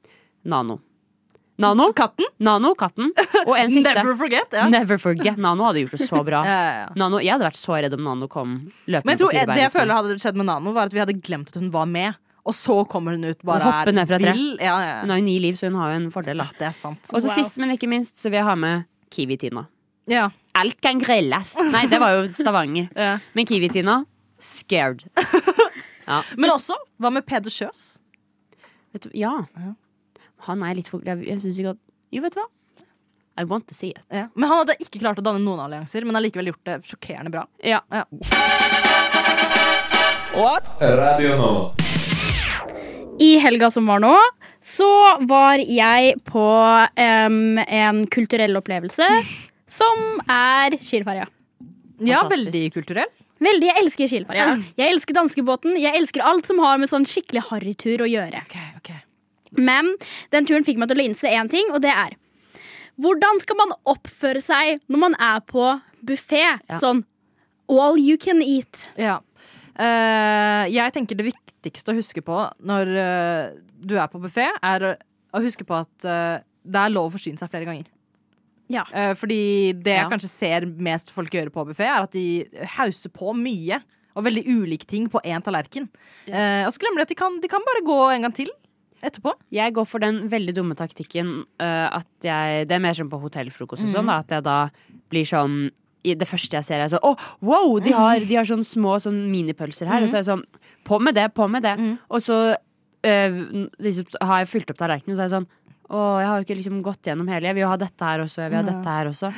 S6: Nano. Nano,
S3: Katten.
S6: Nano, katten. Og en siste.
S3: Never forget. Ja.
S6: Never forget. Nano hadde gjort det så bra.
S3: Ja, ja, ja.
S6: Nano, jeg hadde vært så redd om Nano kom løpende
S3: Men jeg tror
S6: på fire bein. liksom.
S3: det jeg føler hadde skjedd med Nano, var at vi hadde glemt at hun var med. Og så kommer hun ut bare
S6: Og hopper
S3: er
S6: ned fra tre.
S3: vill. Ja, ja, ja.
S6: Hun har jo ni liv, så hun har jo en fordel.
S3: Ja,
S6: Da.
S3: det er sant.
S6: Og så
S2: Wow.
S6: sist, men ikke minst, så vil jeg ha med Kiwi-Tina.
S3: Ja,
S6: Alt kan grilles. Nei, det var jo Stavanger.
S3: ja.
S6: Men Kiwi-Tina scared.
S3: Men også, hva med Peder Kjøs?
S6: Vet du, ja.
S3: Ja.
S6: Han er litt for Jeg, jeg syns ikke at Jo, vet du hva? I want to see it.
S3: Ja. Men han hadde ikke klart å danne noen allianser, men har likevel gjort det sjokkerende bra.
S6: Ja.
S3: Ja.
S7: Radio Nova.
S2: I helga som var nå, så var jeg på em, en kulturell opplevelse som er Kielferja.
S3: Ja,
S6: Fantastisk.
S3: veldig kulturell.
S2: Veldig, Jeg elsker Kielferja. Jeg elsker danskebåten. Jeg elsker alt som har med sånn skikkelig harrytur å gjøre. Men den turen fikk meg til å innse én ting, og det er Hvordan skal man oppføre seg når man er på buffé?
S6: Ja.
S2: Sånn all you can eat.
S3: Ja. Eh, jeg tenker det viktigste å huske på når eh, du er på buffé, er å- å huske på at eh, det er lov å forsyne seg flere ganger.
S2: Ja.
S3: Eh, fordi det
S6: Ja.
S3: jeg kanskje ser mest folk gjøre på buffé, er at de hauser på mye. Og veldig ulike ting på én tallerken. Eh, og så glemmer de at de kan, de kan bare gå en gang til etterpå.
S6: Jeg går for den veldig dumme taktikken øh, at jeg Det er mer som på hotellfrokost og sånn, da, at jeg da blir sånn i det første jeg ser, er sånn Å, wow! De har, de har sånn små sånn minipølser her. Og så er jeg sånn På med det, på med det. Og så øh, liksom, har jeg fylt opp tallerkenen, og så er jeg sånn Å, jeg har jo ikke liksom gått gjennom hele. Jeg vil jo ha dette her også. Jeg vil ha dette her også.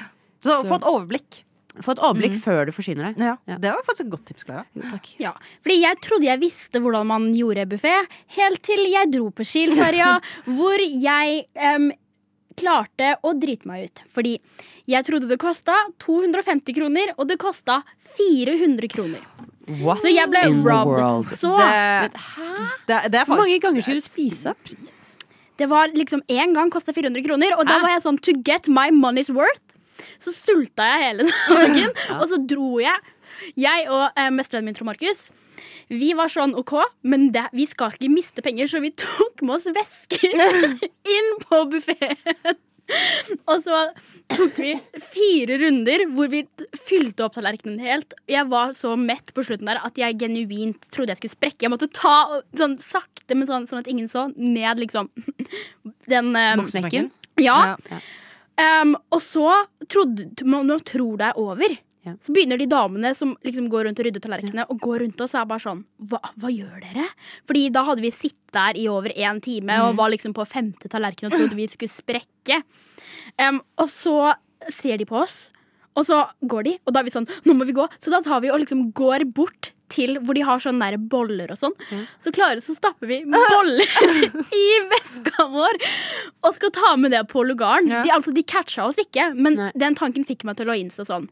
S3: Så,
S6: Så-
S3: få et overblikk.
S6: Få et overblikk før du forsyner deg. Ja.
S3: Det var faktisk et godt tips. Clara.
S2: Ja, fordi jeg trodde jeg visste hvordan man gjorde buffé, helt til jeg dro på Kielferja, hvor jeg em, klarte å drite meg ut. Fordi jeg trodde det kosta 250 kroner, og det kosta 400 kroner.
S6: What
S2: Så jeg ble
S6: in the world?
S2: robbed. Så
S3: Det, det, det er
S6: Hvor mange
S3: faktisk
S6: ganger skulle du spise?
S2: det var liksom én gang kosta 400 kroner, og da var jeg sånn to get my money's worth. Så sulta jeg hele dagen, og så dro jeg. Jeg og eh, mestevennen min, Trond Markus, vi var sånn OK, men det, vi skal ikke miste penger, så vi tok med oss vesker inn på buffeen. Og så tok vi fire runder hvor vi t- fylte opp tallerkenen helt. Jeg var så mett på slutten der at jeg genuint trodde jeg skulle sprekke. Jeg måtte ta sånn sakte, men sånn, sånn at ingen så, ned liksom den eh,
S6: Smekken?
S2: Ja.
S3: Ja.
S2: Ehm, og så trodde, man, man tror det er over.
S6: Ja.
S2: Så begynner de damene som liksom går rundt og rydder tallerkenene, og går rundt oss og er bare sånn hva, hva gjør dere? Fordi da hadde vi sittet der i over én time og var liksom på femte tallerken og trodde vi skulle sprekke. Ehm, og så ser de på oss, og så går de, og da er vi sånn Nå må vi gå. Så da tar vi og liksom går bort til hvor de har sånne der boller og sånn. Så klarer så stapper vi boller i veska vår og skal ta med det på lugaren.
S3: Ja.
S2: De, altså, de catcha oss ikke, men
S6: Nei.
S2: den tanken fikk meg til å innse sånn.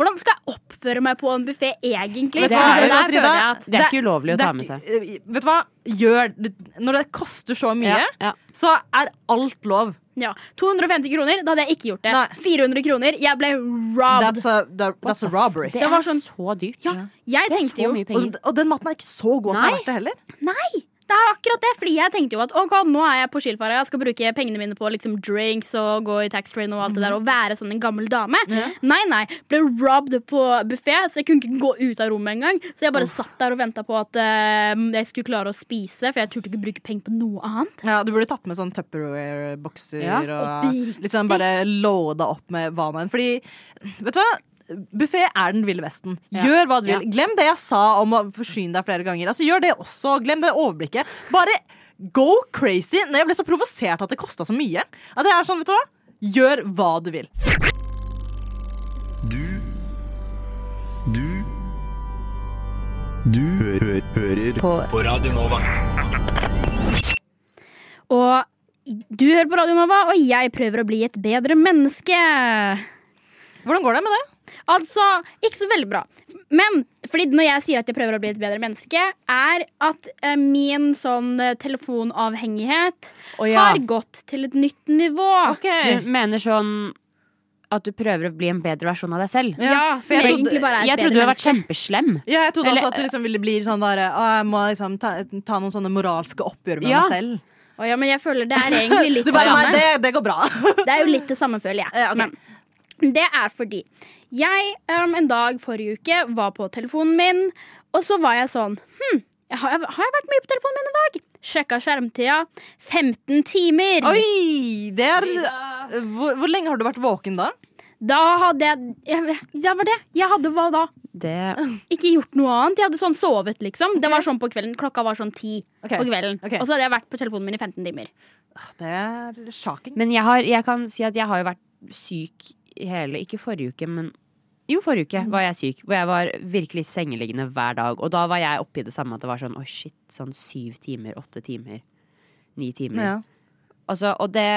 S2: Hvordan skal jeg oppføre meg på en buffé, egentlig?
S3: Vet du
S6: Det
S3: hva,
S6: er
S3: vet
S6: jo-
S3: du hva,
S2: der føler jeg at
S6: Det er ikke ulovlig å
S3: det
S6: ta
S3: er
S6: med
S3: ikke- eh, Vet du hva? Gjør, det- når det koster så mye,
S6: Ja, ja.
S3: så er alt lov.
S2: ja, 250 kroner, da hadde jeg ikke gjort det.
S3: Nei.
S2: 400 kroner, jeg ble robbed.
S3: That's a, that, that's a Altså robbery.
S6: Det
S2: Det var
S6: er
S2: sånn-
S6: så dyrt.
S2: Ja, jeg
S6: Det er
S2: tenkte
S6: så
S2: jo
S6: mye penger.
S3: Og, og den maten er ikke så god at den er verdt det heller.
S2: Det er akkurat det, fordi jeg tenkte jo at ok, nå er jeg på Skilfara, jeg skal bruke pengene mine på liksom drinks og gå i taxfree-en og alt det der og være sånn en gammel dame. Nei, nei. Ble robbed på buffé, så jeg kunne ikke gå ut av rommet engang. Så jeg bare satt der og venta på at eh, jeg skulle klare å spise, for jeg turte ikke bruke penger på noe annet.
S3: Ja, du burde tatt med sånn Tupperware-bokser
S6: Ja,
S3: og
S2: oppriktig.
S3: liksom bare loada opp med hva man Fordi, vet du hva? Buffé er den ville vesten. Gjør hva du vil. Glem det jeg sa om å forsyne deg flere ganger. Altså, gjør det også. Glem det overblikket. Bare go crazy. Nei, jeg ble så provosert at det kosta så mye. At det er sånn, vet du hva? Gjør hva du vil.
S5: Du Du Du hø hø hører på, på Radio Nova.
S2: Og du hører på Radio Nova, og jeg prøver å bli et bedre menneske.
S3: Hvordan går det med det?
S2: Altså, ikke så veldig bra. Men fordi når jeg sier at jeg prøver å bli et bedre menneske, er at eh, min sånn eh, telefonavhengighet
S6: Å, ja.
S2: har gått til et nytt nivå.
S6: Du mener sånn at du prøver å bli en bedre versjon av deg selv?
S2: Ja, som
S3: jeg trodde-
S2: egentlig bare er et
S6: Jeg
S2: bedre
S6: trodde du hadde vært
S2: menneske.
S6: kjempeslem.
S3: Ja, jeg trodde
S6: Eller-
S3: også at du liksom ville bli sånn der «Å, Jeg må liksom ta, ta noen sånne moralske oppgjør med
S6: Ja.
S3: meg selv.
S2: Å ja, men jeg føler det er egentlig litt det
S3: Du bare,
S2: samme.
S3: nei, det, det går bra.
S2: Det er jo litt det samme, føler jeg.
S3: Ja, ok.
S2: Men det er fordi jeg um, en dag forrige uke var på telefonen min, og så var jeg sånn Hm, har jeg, har jeg vært mye på telefonen min i dag? Sjekka skjermtida. 15 timer.
S3: Oi! Det er hvor, hvor lenge har du vært våken da?
S2: Da hadde jeg, jeg Ja, var det. Jeg hadde hva da?
S6: Det
S2: Ikke gjort noe annet. Jeg hadde sånn sovet, liksom. Det var sånn på kvelden. Klokka var sånn ti
S3: Ok.
S2: på kvelden.
S3: Ok.
S2: Og så hadde jeg vært på telefonen min i 15 timer.
S3: Det er sjaking.
S6: Men jeg, har, jeg kan si at jeg har jo vært syk hele Ikke forrige uke, men jo, forrige uke var jeg syk. Hvor jeg var virkelig sengeliggende hver dag. Og da var jeg oppe i det samme at det var sånn å shit, sånn syv timer, åtte timer, ni timer.
S3: Ja.
S6: Altså, og det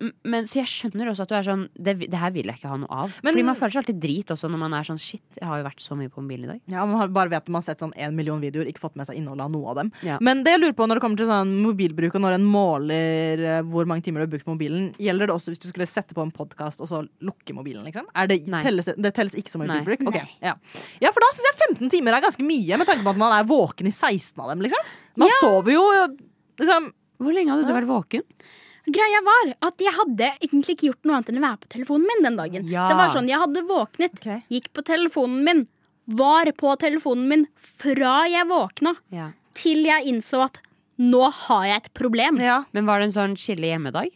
S6: m- men, så jeg skjønner også at du er sånn det, det her vil jeg ikke ha noe av.
S3: Men-
S6: Fordi man føler seg alltid drit også når man er sånn shit, jeg har jo vært så mye på mobilen i dag.
S3: Ja, man har, bare vet at man har sett sånn en million videoer, ikke fått med seg innholdet av noe av dem.
S6: Ja.
S3: Men det jeg lurer på når det kommer til sånn mobilbruk, og når en måler eh, hvor mange timer du har brukt på mobilen, gjelder det også hvis du skulle sette på en podkast og så lukke mobilen, liksom? Er det,
S6: Nei.
S3: telles, det telles ikke som
S6: Nei.
S3: mobilbruk? Ok,
S2: Nei.
S3: Ja. ja, for da syns jeg 15 timer er ganske mye, med tanke på at man er våken i 16 av dem, liksom. Man sover jo liksom
S6: Hvor lenge hadde du vært våken?
S2: Greia var at jeg hadde egentlig ikke gjort noe annet enn å være på telefonen min den dagen.
S6: Ja.
S2: Det var sånn, Jeg hadde våknet,
S3: Ok.
S2: gikk på telefonen min, var på telefonen min fra jeg våkna
S6: Ja.
S2: til jeg innså at nå har jeg et problem.
S3: Ja.
S6: Men var det en sånn chille hjemmedag?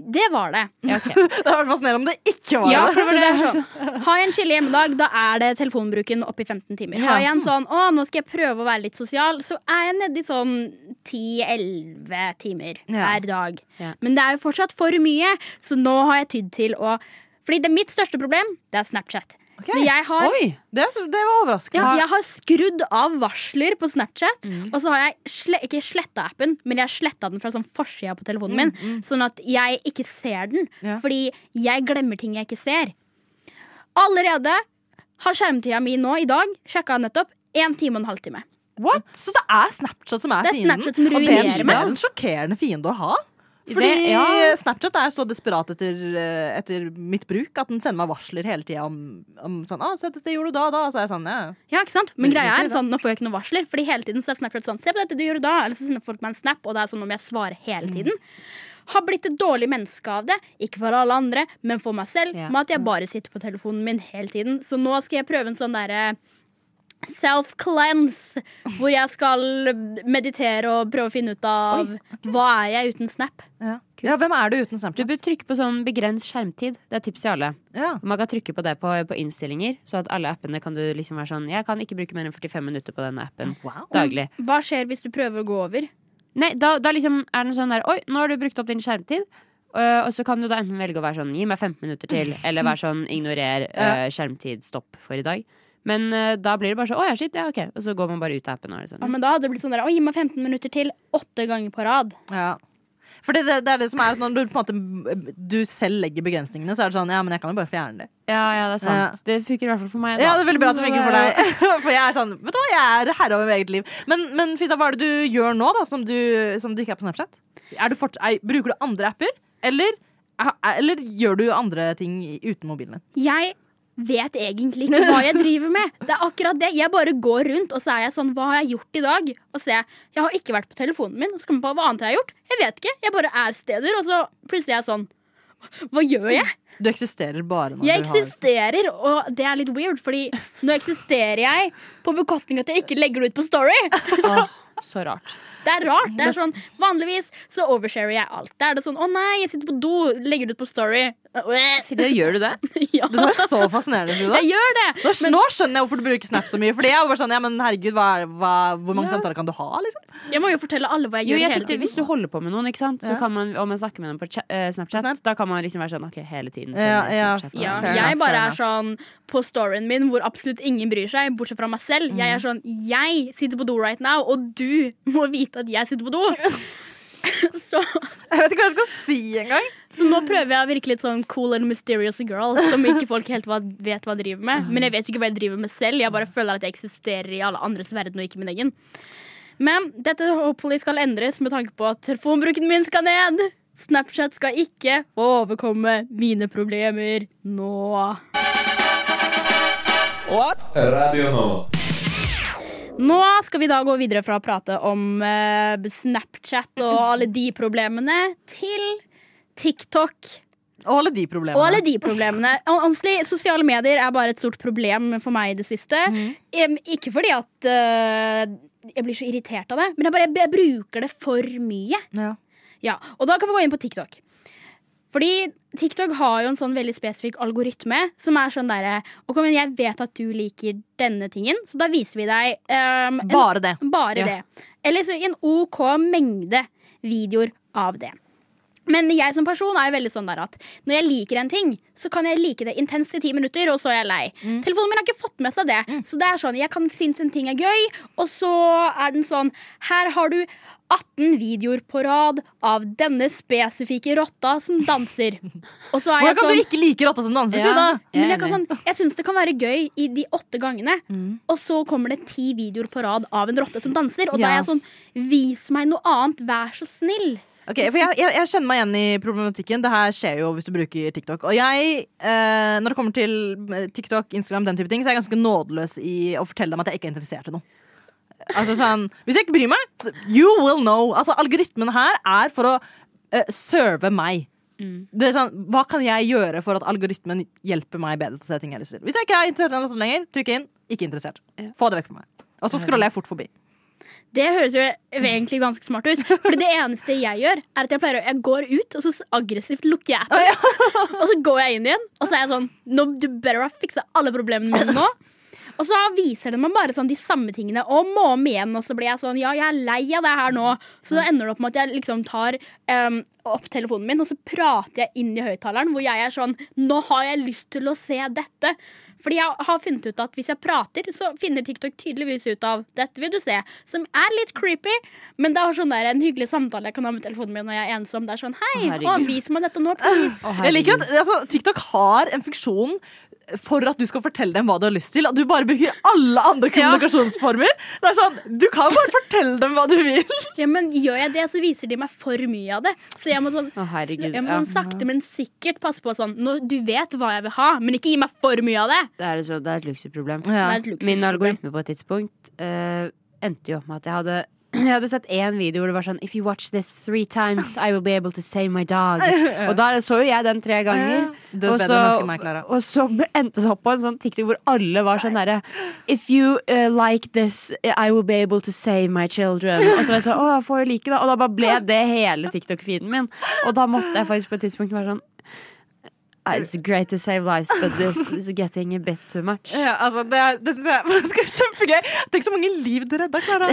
S2: Det var det.
S3: Det hadde vært fascinerende om det ikke var
S2: Ja,
S3: det.
S2: for det er sånn. Har jeg en chille hjemmedag, da er det telefonbruken opp i 15 timer.
S3: Ja.
S2: Har jeg en sånn 'Å, nå skal jeg prøve å være litt sosial', så er jeg nedi sånn 10-11 timer
S3: Ja.
S2: hver dag.
S6: Ja.
S2: Men det er jo fortsatt for mye, så nå har jeg tydd til å Fordi det er mitt største problem, det er Snapchat. Så jeg har,
S6: Oi!
S3: Det, det var overraskende.
S2: ja, jeg har skrudd av varsler på Snapchat, og så har jeg sle, ikke sletta appen, men jeg sletta den fra sånn forsida på telefonen min, sånn at jeg ikke ser den.
S3: Ja.
S2: Fordi jeg glemmer ting jeg ikke ser. Allerede har skjermtida mi nå i dag sjekka nettopp én time og en halvtime.
S3: What? Så det er Snapchat som er,
S2: Det er
S3: fienden?
S2: Snapchat som
S3: og det
S2: ruinerer
S3: er, det
S2: meg.
S3: er en sjokkerende fiende å ha.
S6: Det-
S3: Fordi
S6: ja.
S3: Snapchat er så desperat etter, eh, etter mitt bruk at den sender meg varsler hele tida om, om sånn ah, 'Se, dette gjorde du da og da.' Så er jeg sånn, ja.
S2: Ja, ikke sant? Men
S3: Men
S2: greia er
S3: egentlig, da.
S2: sånn, nå får jeg ikke noen varsler, Fordi hele tiden så er Snapchat sånn 'Se på dette du gjorde da', eller så sender folk meg en snap, og det er sånn om jeg svarer
S6: Mm.
S2: hele tiden. Har blitt et dårlig menneske av det, ikke for alle andre, men for meg selv,
S6: Ja.
S2: med at jeg bare sitter på telefonen min hele tiden. Så nå skal jeg prøve en sånn derre Self-cleanse, hvor jeg skal meditere og prøve å finne ut av hva er jeg uten Snap.
S3: Ja. ja, hvem er du uten
S6: Du
S3: Snapchat?
S6: bør trykke på sånn begrens skjermtid. Det er tips til alle.
S3: Ja.
S6: Man kan trykke på det på, på innstillinger, så at alle appene kan du liksom være sånn Jeg kan ikke bruke mer enn 45 minutter på denne appen
S3: Wow.
S6: daglig.
S2: Hva skjer hvis du prøver å gå over?
S6: Nei, da, da liksom er den sånn der Oi, nå har du brukt opp din skjermtid. øh, og så kan du da enten velge å være sånn gi meg 15 minutter til, eller være sånn ignorer øh, skjermtid, stopp for i dag. Men øh, da blir det bare sånn å ja, shit, ja, ok. Og så går man bare ut av appen. Og er det
S2: Ja,
S6: sånn.
S2: men da hadde det blitt sånn der, å gi meg 15 minutter til, åtte ganger på rad.
S3: Ja. Fordi det, det er det som er at når du, på en måte, du selv legger begrensningene, så er det sånn Ja, men jeg kan jo bare fjerne det.
S6: Ja, ja, det er sant. Det funker i hvert fall for meg. Da.
S3: Ja, det er veldig bra at det funker for deg. For jeg er sånn Vet du hva, jeg er herre over eget liv. Men, men Frida, hva er det du gjør nå, da, som du, som du ikke er på Snapchat? Er du forts- er, bruker du andre apper, eller, er- eller gjør du andre ting uten mobilen din?
S2: Jeg vet egentlig ikke hva jeg driver med. Det er akkurat det. Jeg bare går rundt, og så er jeg sånn, hva har jeg gjort i dag? Og så er jeg, jeg har ikke vært på telefonen min, og så kommer jeg på hva annet jeg har gjort. Jeg vet ikke. Jeg bare er steder, og så plutselig er jeg sånn, hva gjør jeg?
S3: Du eksisterer bare når
S2: Jeg
S3: du
S2: eksisterer, og det er litt weird, fordi nå eksisterer jeg på bekostning av at jeg ikke legger det ut på story.
S6: Åh, så rart.
S2: Det er rart. det er sånn, Vanligvis så oversharer jeg alt. Da er det sånn 'Å nei, jeg sitter på do. Legger det ut på Story.'
S6: gjør du det?
S2: ja,
S3: har Det er så fascinerende, Frida.
S2: jeg gjør det!
S3: Nå, skj- nå skjønner jeg hvorfor du bruker Snap så mye. Fordi jeg var bare sånn, ja, men herregud, hva, er- hva, Hvor mange samtaler kan du ha? liksom?
S2: Jeg må jo fortelle alle hva jeg
S6: Jo,
S2: gjør
S6: jeg
S2: hele
S6: tenkte
S2: tiden.
S6: Hvis du holder på med noen, ikke sant? Så
S3: Ja.
S6: kan man, og man snakker med dem på cha- eh, Snapchat,
S3: Snap.
S6: da kan man liksom være sånn OK, hele tiden.
S3: Ja,
S6: sender
S3: ja,
S6: Snapchat,
S2: Ja,
S6: og-
S3: Fair
S2: jeg
S3: enough,
S2: bare
S3: fair
S2: er sånn på storyen min hvor absolutt ingen bryr seg, bortsett fra meg selv. Jeg
S3: Mm.
S2: er sånn Jeg sitter på do right now, og du må vite at jeg sitter på do. så,
S3: Jeg vet ikke hva jeg skal si engang.
S2: så nå prøver jeg å virke litt sånn cool and mysterious girl, som ikke folk helt hva, vet hva driver med. Men jeg vet jo ikke hva jeg driver med selv. Jeg bare føler at jeg eksisterer i alle andres verden, og ikke min egen. Men dette hopefully skal endres med tanke på at telefonbruken min skal ned. Snapchat skal ikke få overkomme mine problemer nå.
S7: Radio Nova.
S2: Nå skal vi da gå videre fra å prate om eh, Snapchat og alle de problemene, til TikTok
S3: Og alle de problemene.
S2: og alle de problemene. Og Honestly, sosiale medier er bare et stort problem for meg i det siste. Em, Ikke fordi at eh, jeg blir så irritert av det, men jeg, bare, jeg bruker det for mye.
S3: Ja.
S2: Ja, Og da kan vi gå inn på TikTok. Fordi TikTok har jo en sånn veldig spesifikk algoritme som er sånn derre OK, men jeg vet at du liker denne tingen, så da viser vi deg em, en
S3: Bare det.
S2: bare
S6: Ja.
S2: det. Eller så en OK mengde videoer av det. Men jeg som person er jo veldig sånn der at når jeg liker en ting, så kan jeg like det intenst i ti minutter, og så er jeg lei.
S3: Mm.
S2: Telefonen min har ikke fått med seg det. Så det er sånn, jeg kan synes en ting er gøy, og så er den sånn Her har du 18 videoer på rad av denne spesifikke rotta som danser. Og så er
S3: Hvordan
S2: jeg
S3: kan
S2: sånn
S3: du ikke like rotta som danser, Frida?
S2: men jeg, kan sånn, jeg syns det kan være gøy i de åtte gangene, og så kommer det ti videoer på rad av en rotte som danser. Og da er
S3: Ja.
S2: jeg sånn Vis meg noe annet, vær så snill.
S3: Ok, for jeg, jeg, jeg kjenner meg igjen i problematikken. Det her skjer jo hvis du bruker TikTok. Og jeg, eh, når det kommer til eh, TikTok, Instagram, den type ting, så er jeg ganske nådeløs i å fortelle dem at jeg ikke er interessert i noe. Altså sånn, Hvis jeg ikke bryr meg, så- you will know. Altså Algoritmen her er for å eh, serve meg. Det er sånn, Hva kan jeg gjøre for at algoritmen hjelper meg bedre til å se ting jeg har lyst til? Hvis jeg ikke er interessert i noe sånt lenger, trykk inn. Ikke interessert. Få det vekk fra meg. Og så scroller jeg fort forbi.
S2: Det høres jo egentlig ganske smart ut. For det eneste jeg gjør, er at jeg pleier å Jeg går ut, og så aggressivt lukker jeg appen. Og så går jeg inn igjen, og så er jeg sånn no, Du better ha fiksa alle problemene mine nå. Og så viser den meg bare sånn de samme tingene om og om igjen. Og så blir jeg sånn Ja, jeg er lei av det her nå. Så da ender det opp med at jeg liksom tar em, opp telefonen min, og så prater jeg inn i høyttaleren, hvor jeg er sånn Nå har jeg lyst til å se dette. Fordi jeg har funnet ut at hvis jeg prater, så finner TikTok tydeligvis ut av dette vil du se, som er litt creepy, men det har sånn der en hyggelig samtale jeg kan ha med telefonen min når jeg er ensom. Det er sånn hei,
S6: Å,
S2: å,
S6: herregud.
S2: vis meg dette nå, please.
S3: Jeg liker at altså, TikTok har en funksjon for at du skal fortelle dem hva du har lyst til. At du bare bruker alle andre kommunikasjonsformer. Det er sånn, Du kan bare fortelle dem hva du vil.
S2: Ja, men gjør jeg det, så viser de meg for mye av det. Så jeg må sånn,
S6: Å, herregud,
S2: sl- jeg må
S6: ja.
S2: sånn sakte, men sikkert passe på sånn nå, Du vet hva jeg vil ha, men ikke gi meg for mye av det.
S6: Det er, så, det er et luksusproblem.
S2: Det er et luksus.
S6: Min algoritme på et tidspunkt eh, endte jo opp med at jeg hadde jeg hadde sett én video hvor det var sånn If you watch this three times, I will be able to save my dog. Og da så jo jeg den tre ganger.
S3: Du er et
S6: Og
S3: bedre
S6: så,
S3: menneske enn meg, Clara.
S6: og så ble- endte det opp på en sånn TikTok hvor alle var sånn derre If you eh, like this, I will be able to save my children. Og så var jeg sånn, å, jeg får jo like det. Og da bare ble det hele TikTok-feeden min. Og da måtte jeg faktisk på et tidspunkt være sånn It's great to save lives, but this is getting a bit too much.
S3: Ja, altså, Det, er- det synes jeg faktisk er kjempegøy. Tenk så mange liv du redda, Klara.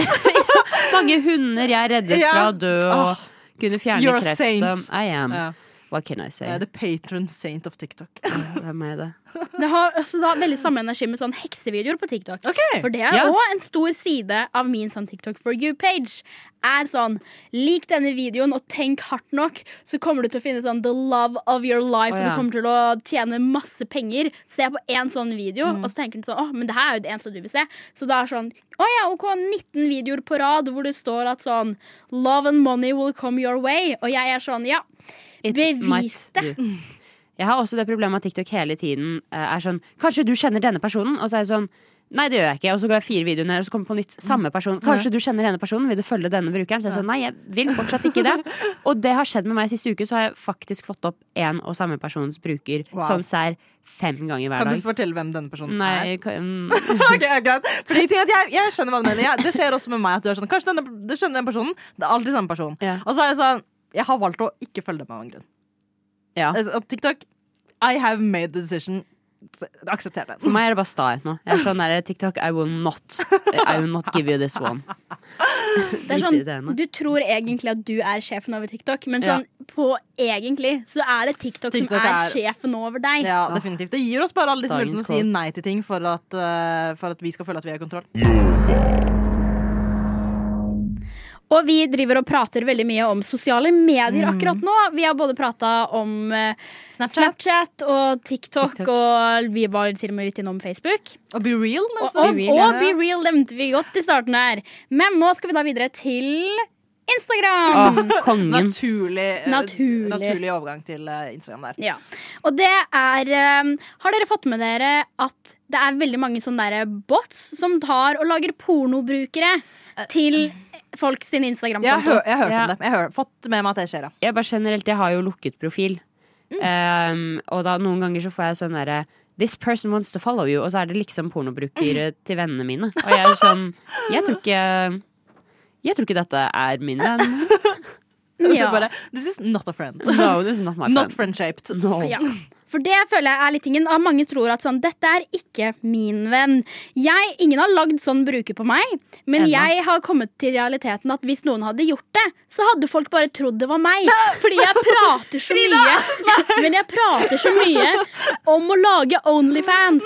S6: Mange hunder jeg er reddet
S3: Ja.
S6: fra å dø og
S3: Åh.
S6: kunne fjerne
S3: You're a
S6: kreft.
S3: saint.
S6: og- I am.
S3: Ja.
S6: What can I say?
S3: Eh, The patron saint of TikTok.
S6: Det er meg, det.
S2: Det har også da veldig samme energi med sånn heksevideoer på TikTok. For det er
S6: Ja.
S2: også en stor side av min sånn TikTok for you-page. Er sånn Lik denne videoen og tenk hardt nok, så kommer du til å finne sånn the love of your life.
S6: Å,
S2: Og
S6: ja.
S2: du kommer til å tjene masse penger. Se på én sånn video,
S6: Mm.
S2: og så tenker du sånn Å, men det her er jo det eneste du vil se. Så det er sånn Å ja, OK, 19 videoer på rad hvor det står at sånn Love and money will come your way. Og jeg er sånn Ja.
S6: It
S2: Bevis
S6: might do. Jeg har også det problemet at TikTok hele tiden eh, er sånn Kanskje du kjenner denne personen? Og så er jeg sånn Nei, det gjør jeg ikke. Og så går jeg fire videoer ned, og så kommer jeg på nytt
S3: Mm.
S6: samme person. Kanskje du kjenner denne personen? Vil du følge denne brukeren? Så jeg er sånn, nei, jeg vil fortsatt ikke det. Og det har skjedd med meg siste uke, så har jeg faktisk fått opp én og samme persons bruker
S3: Wow.
S6: sånn sær fem ganger hver
S3: Kan du
S6: dag.
S3: fortelle hvem denne personen
S6: Nei,
S3: er?
S6: jeg kan- mm,
S3: Ok, greit. Fordi ting at jeg, jeg skjønner hva du mener. Jeg, det skjer også med meg. at du er sånn, Kanskje denne, du skjønner den personen. Det er alltid samme person.
S6: Ja.
S3: Og så er jeg sånn Jeg har valgt å ikke følge dem av en grunn.
S6: ja.
S3: Altså, TikTok, I have made the decision. Aksepter det.
S6: For meg er det bare stahet nå. Jeg er sånn der, TikTok, I will not I will not give you this one.
S2: Det er
S6: Litt
S2: sånn,
S6: irriterende.
S2: du tror egentlig at du er sjefen over TikTok, men
S6: Ja.
S2: sånn, på egentlig så er det TikTok,
S3: TikTok
S2: som er,
S3: er-
S2: sjefen over deg.
S3: Ja, definitivt. Det gir oss bare alle disse
S6: Dagens
S3: mulighetene til å si
S6: quote.
S3: nei til ting for at, eh, for at vi skal føle at vi har kontroll.
S2: Og vi driver og prater veldig mye om sosiale medier
S6: Mm.
S2: akkurat nå. Vi har både prata om eh, Snapchat og TikTok,
S6: TikTok.
S2: og vi var til og med litt innom Facebook.
S3: Og be real, men
S2: Og,
S3: så-
S2: og,
S6: Be
S2: be
S6: Real,
S2: real,
S6: ja.
S2: Be Real nevnte vi godt i starten her. Men nå skal vi da videre til Instagram!
S6: Åh, kongen.
S3: Naturlig, eh,
S2: Naturlig.
S3: naturlig overgang til eh, Instagram der.
S2: Ja. Og det er um, Har dere fått med dere at det er veldig mange sånne der eh, bots som tar og lager pornobrukere til folk sin
S3: Jeg, hø
S2: Instagram-konto?
S3: jeg hørte
S6: Ja.
S3: om det. Jeg har fått med meg at det skjer, ja.
S6: Jeg bare generelt, jeg har jo lukket profil.
S3: Mm.
S6: Ehm, og da noen ganger så får jeg sånn derre This person wants to follow you. Og så er det liksom pornobrukere
S3: Mm.
S6: til vennene mine. Og jeg er sånn Jeg tror ikke Jeg tror ikke dette er min venn.
S3: Så bare, This is not a friend.
S6: No, this is not my
S3: Not
S6: friend.
S3: friend-shaped.
S6: No.
S2: Ja. For det føler jeg er litt tingen. at Mange tror at sånn, dette er ikke min venn. Jeg, ingen har lagd sånn bruker på meg, men
S6: Ennå.
S2: jeg har kommet til realiteten at hvis noen hadde gjort det, så hadde folk bare trodd det var meg. Fordi jeg prater så mye. Men jeg prater så mye om å lage Onlyfans.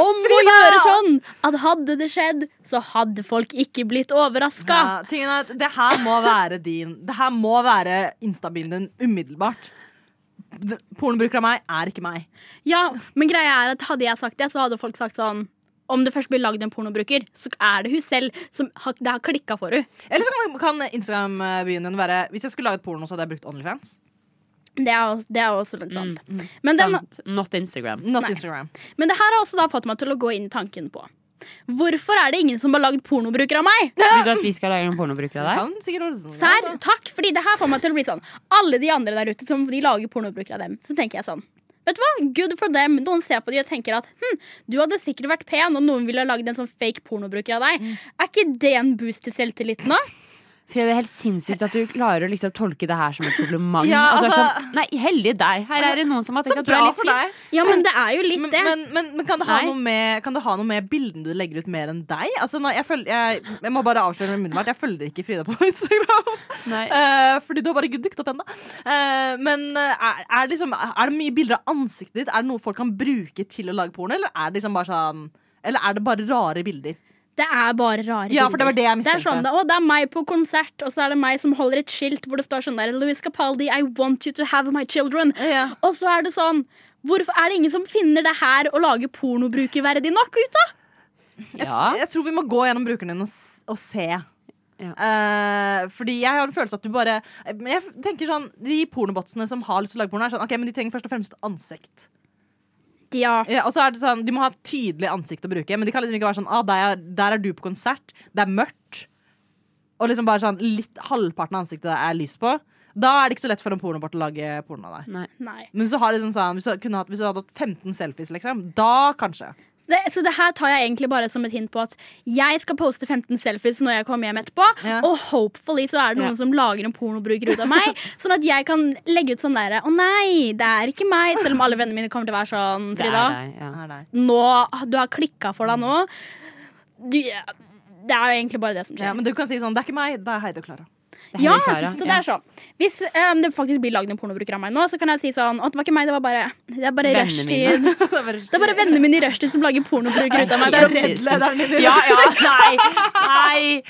S2: om å gjøre sånn. At hadde det skjedd, så hadde folk ikke blitt overraska.
S3: Ja, tingen er at det her må være din. Det her må være instabilen din umiddelbart. D- Pornobruker av meg er ikke meg.
S2: Ja, men greia er at hadde jeg sagt det, så hadde folk sagt sånn Om det først blir lagd en pornobruker, så er det hun selv som har, det har klikka for hun.
S3: Eller så kan, kan Instagram-byen din være Hvis jeg skulle laget porno, så hadde jeg brukt Onlyfans.
S2: Det er, også- det er også litt Mm, sant. Men, den,
S6: Sant. Not Instagram.
S3: Not Instagram.
S2: men det her har også da fått meg til å gå inn i tanken på Hvorfor er det ingen som har lagd pornobruker av meg?
S6: Vil du at vi skal lage noen pornobrukere av deg?
S3: Kan sikkert ordne det.
S2: Sær, takk, fordi det her får meg til å bli sånn Alle de andre der ute som de lager pornobrukere av dem. Så tenker jeg sånn Vet du hva? Good for them. Noen ser på de og tenker at hm, du hadde sikkert vært pen om noen ville ha lagd en sånn fake pornobruker av deg. Er ikke det en boost til selvtilliten, da?
S6: Fordi det er helt sinnssykt at du klarer å liksom tolke det her som et kompliment.
S3: Ja,
S6: At du er
S3: altså-
S6: sånn, Nei, heldig deg. Her er det noen som har tenkt
S3: Så
S6: at du er
S3: bra
S6: litt
S3: for
S6: fin.
S3: deg.
S2: Ja, men det er jo litt
S3: Men,
S2: det.
S3: men, men, men kan, det ha
S6: Nei.
S3: noe med, kan det ha noe med bildene du legger ut, mer enn deg? Altså, nå, jeg, følger, jeg, jeg må bare avsløre med munnbart. Jeg følger ikke Frida på Instagram.
S6: Nei.
S3: Eh, fordi du har bare ikke dukket opp ennå. Eh, men eh, er, er, det liksom, er det mye bilder av ansiktet ditt? Er det noe folk kan bruke til å lage porno? Eller er det liksom bare sånn Eller er det bare rare bilder?
S2: det er bare rare
S3: Ja, for det var det jeg
S2: Det er
S3: mistenkte.
S2: sånn, da, å, det er meg på konsert, og så er det meg som holder et skilt hvor det står sånn der Louis Capaldi, I want you to have my children.
S3: Ja.
S2: Og så er det sånn Hvorfor er det ingen som finner det her å lage pornobruker verdig nok ut av?
S6: Ja.
S3: Jeg tror vi må gå gjennom brukeren din og, s- og se.
S6: Ja.
S3: Eh, fordi jeg har en følelse at du bare Men Jeg tenker sånn De pornobotsene som har lyst til å lage porno, er sånn Ok, men de trenger først og fremst ansikt.
S2: Ja.
S3: Ja, og så er det sånn, De må ha et tydelig ansikt å bruke, men de kan liksom ikke være sånn ah, der, er, 'Der er du på konsert. Det er mørkt.' Og liksom bare sånn litt halvparten av ansiktet er lys på. Da er det ikke så lett for en pornobot å lage porno av deg.
S6: Nei.
S2: Nei.
S3: Men hvis du har liksom sånn, hvis du, kunne hatt, hvis du hadde hatt 15 selfies, liksom, da kanskje.
S2: Det, så det her tar jeg egentlig bare som et hint på at jeg skal poste 15 selfies når jeg kommer hjem etterpå,
S3: Ja.
S2: og hopefully så er det noen
S6: Ja.
S2: som lager en pornobruker ut av meg, sånn at jeg kan legge ut sånn derre Å nei, det er ikke meg, selv om alle vennene mine kommer til å være sånn,
S6: Det er
S2: Frida.
S6: deg. Ja.
S3: Er det.
S2: nå, du har klikka for deg nå. Du, det er jo egentlig bare det som skjer.
S3: Ja, men du kan si sånn 'Det er ikke meg, det er Heidi og Klara'.
S6: Det er
S2: Ja,
S6: Henrik Kara.
S2: så det
S6: Ja.
S2: er sånn Hvis em, det faktisk blir lagd en pornobruker av meg nå, så kan jeg si sånn Å, det var ikke meg, det var bare Det er bare
S6: Vennene
S2: rushtid. Det er bare vennene mine i rushtid som lager pornobruker ut av meg.
S6: Det
S2: Det
S6: er
S2: er-
S6: redd. redlederen
S3: din.
S6: Ja, ja, nei. Nei.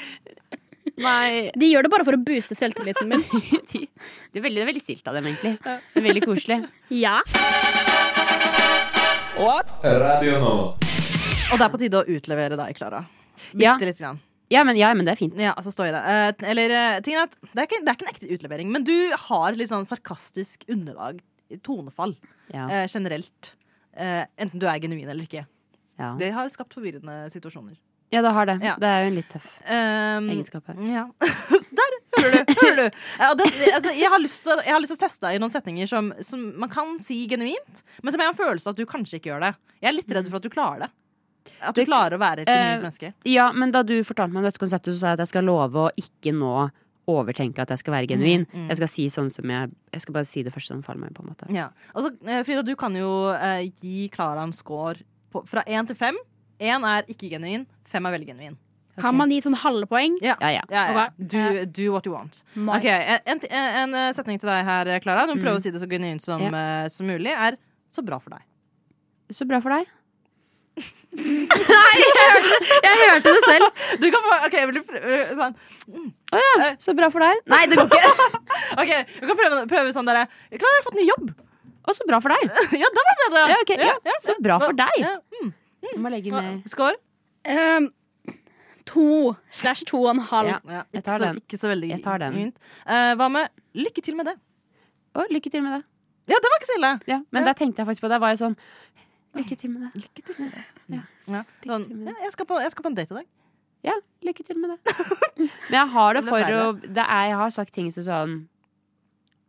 S6: Nei.
S2: De gjør det bare for å booste selvtilliten min.
S6: De, det, er veldig, det er veldig stilt av dem, egentlig. Det er veldig koselig.
S2: Ja.
S7: Radio Nova.
S3: Og det er på tide å utlevere deg, Klara.
S6: Ja,
S3: Bitte lite grann.
S6: ja, men, ja men det er fint.
S3: Ja, altså stå i det. Eh, t- eller, eh, tingen er at det er, ikke, det er ikke en ekte utlevering, men du har litt sånn sarkastisk underlag, tonefall,
S6: Ja,
S3: eh, generelt. Eh, enten du er genuin eller ikke.
S6: ja.
S3: Det har skapt forvirrende situasjoner.
S6: ja det har det.
S3: Ja.
S6: Det er jo en litt tøff
S3: Um,
S6: egenskap her.
S3: Ja. Så Der hører du! Hører du. Ja, det, altså, jeg, har lyst til, jeg har lyst til å teste deg i noen setninger som, som man kan si genuint, men som jeg har en følelse av at du kanskje ikke gjør det. Jeg er litt redd for at du klarer det. At du
S6: Det-
S3: klarer å være et genuint
S6: Eh,
S3: menneske.
S6: Ja, men da du fortalte meg om dette konseptet, så sa jeg at jeg skal love å ikke nå overtenke at jeg skal være genuin. Jeg skal si sånn som jeg Jeg skal bare si det første som faller meg, på en måte.
S3: Ja. Altså, eh, Frida, du kan jo eh, gi Klara en score på, fra én til fem. Én er ikke genuin, fem er veldig genuin.
S2: Kan man gi sånn halvpoeng?
S6: Ja, ja.
S3: Ja, ja.
S2: Ok.
S3: Do, do what you want.
S2: Nice.
S3: Ok, en, en, en eh, setning til deg her, Klara. Du må prøve å si det så genuint som,
S6: Ja.
S3: eh, som mulig. Er så bra for deg.
S6: Så bra for deg. Nei, jeg hørte, jeg hørte det selv.
S3: Du kan få OK, jeg vil prøve sånn.
S6: Å ja, så bra for deg.
S3: Nei, det går ikke. OK, vi kan prøve, prøve sånn derre Klara, jeg har fått ny jobb.
S6: Og så bra for deg.
S3: ja, da var det bedre.
S6: Ja, ok, ja. Så bra for deg.
S3: Ja.
S6: Jeg må legge mer
S3: Skår.
S2: Em, Ehm, to slash to og en halv.
S6: Ja.
S3: Ja,
S6: Jeg
S3: ikke
S6: tar
S3: så-
S6: den.
S3: Ikke så veldig
S6: Jeg tar den.
S3: gynt. Eh, hva med lykke til med det?
S6: Å, lykke til med det.
S3: Ja, det var ikke så ille!
S6: Ja, men
S3: Ja.
S6: der tenkte jeg faktisk på det. Jeg var jo sånn Lykke til med
S3: Ja,
S6: det. Lykke
S3: sånn,
S6: til med
S3: ja,
S6: det.
S3: jeg, skal på, jeg skal på en date i dag.
S6: Ja, lykke til med det. Men jeg har det
S3: Eller
S6: for å
S3: verre.
S6: det er, Jeg har sagt ting som sånn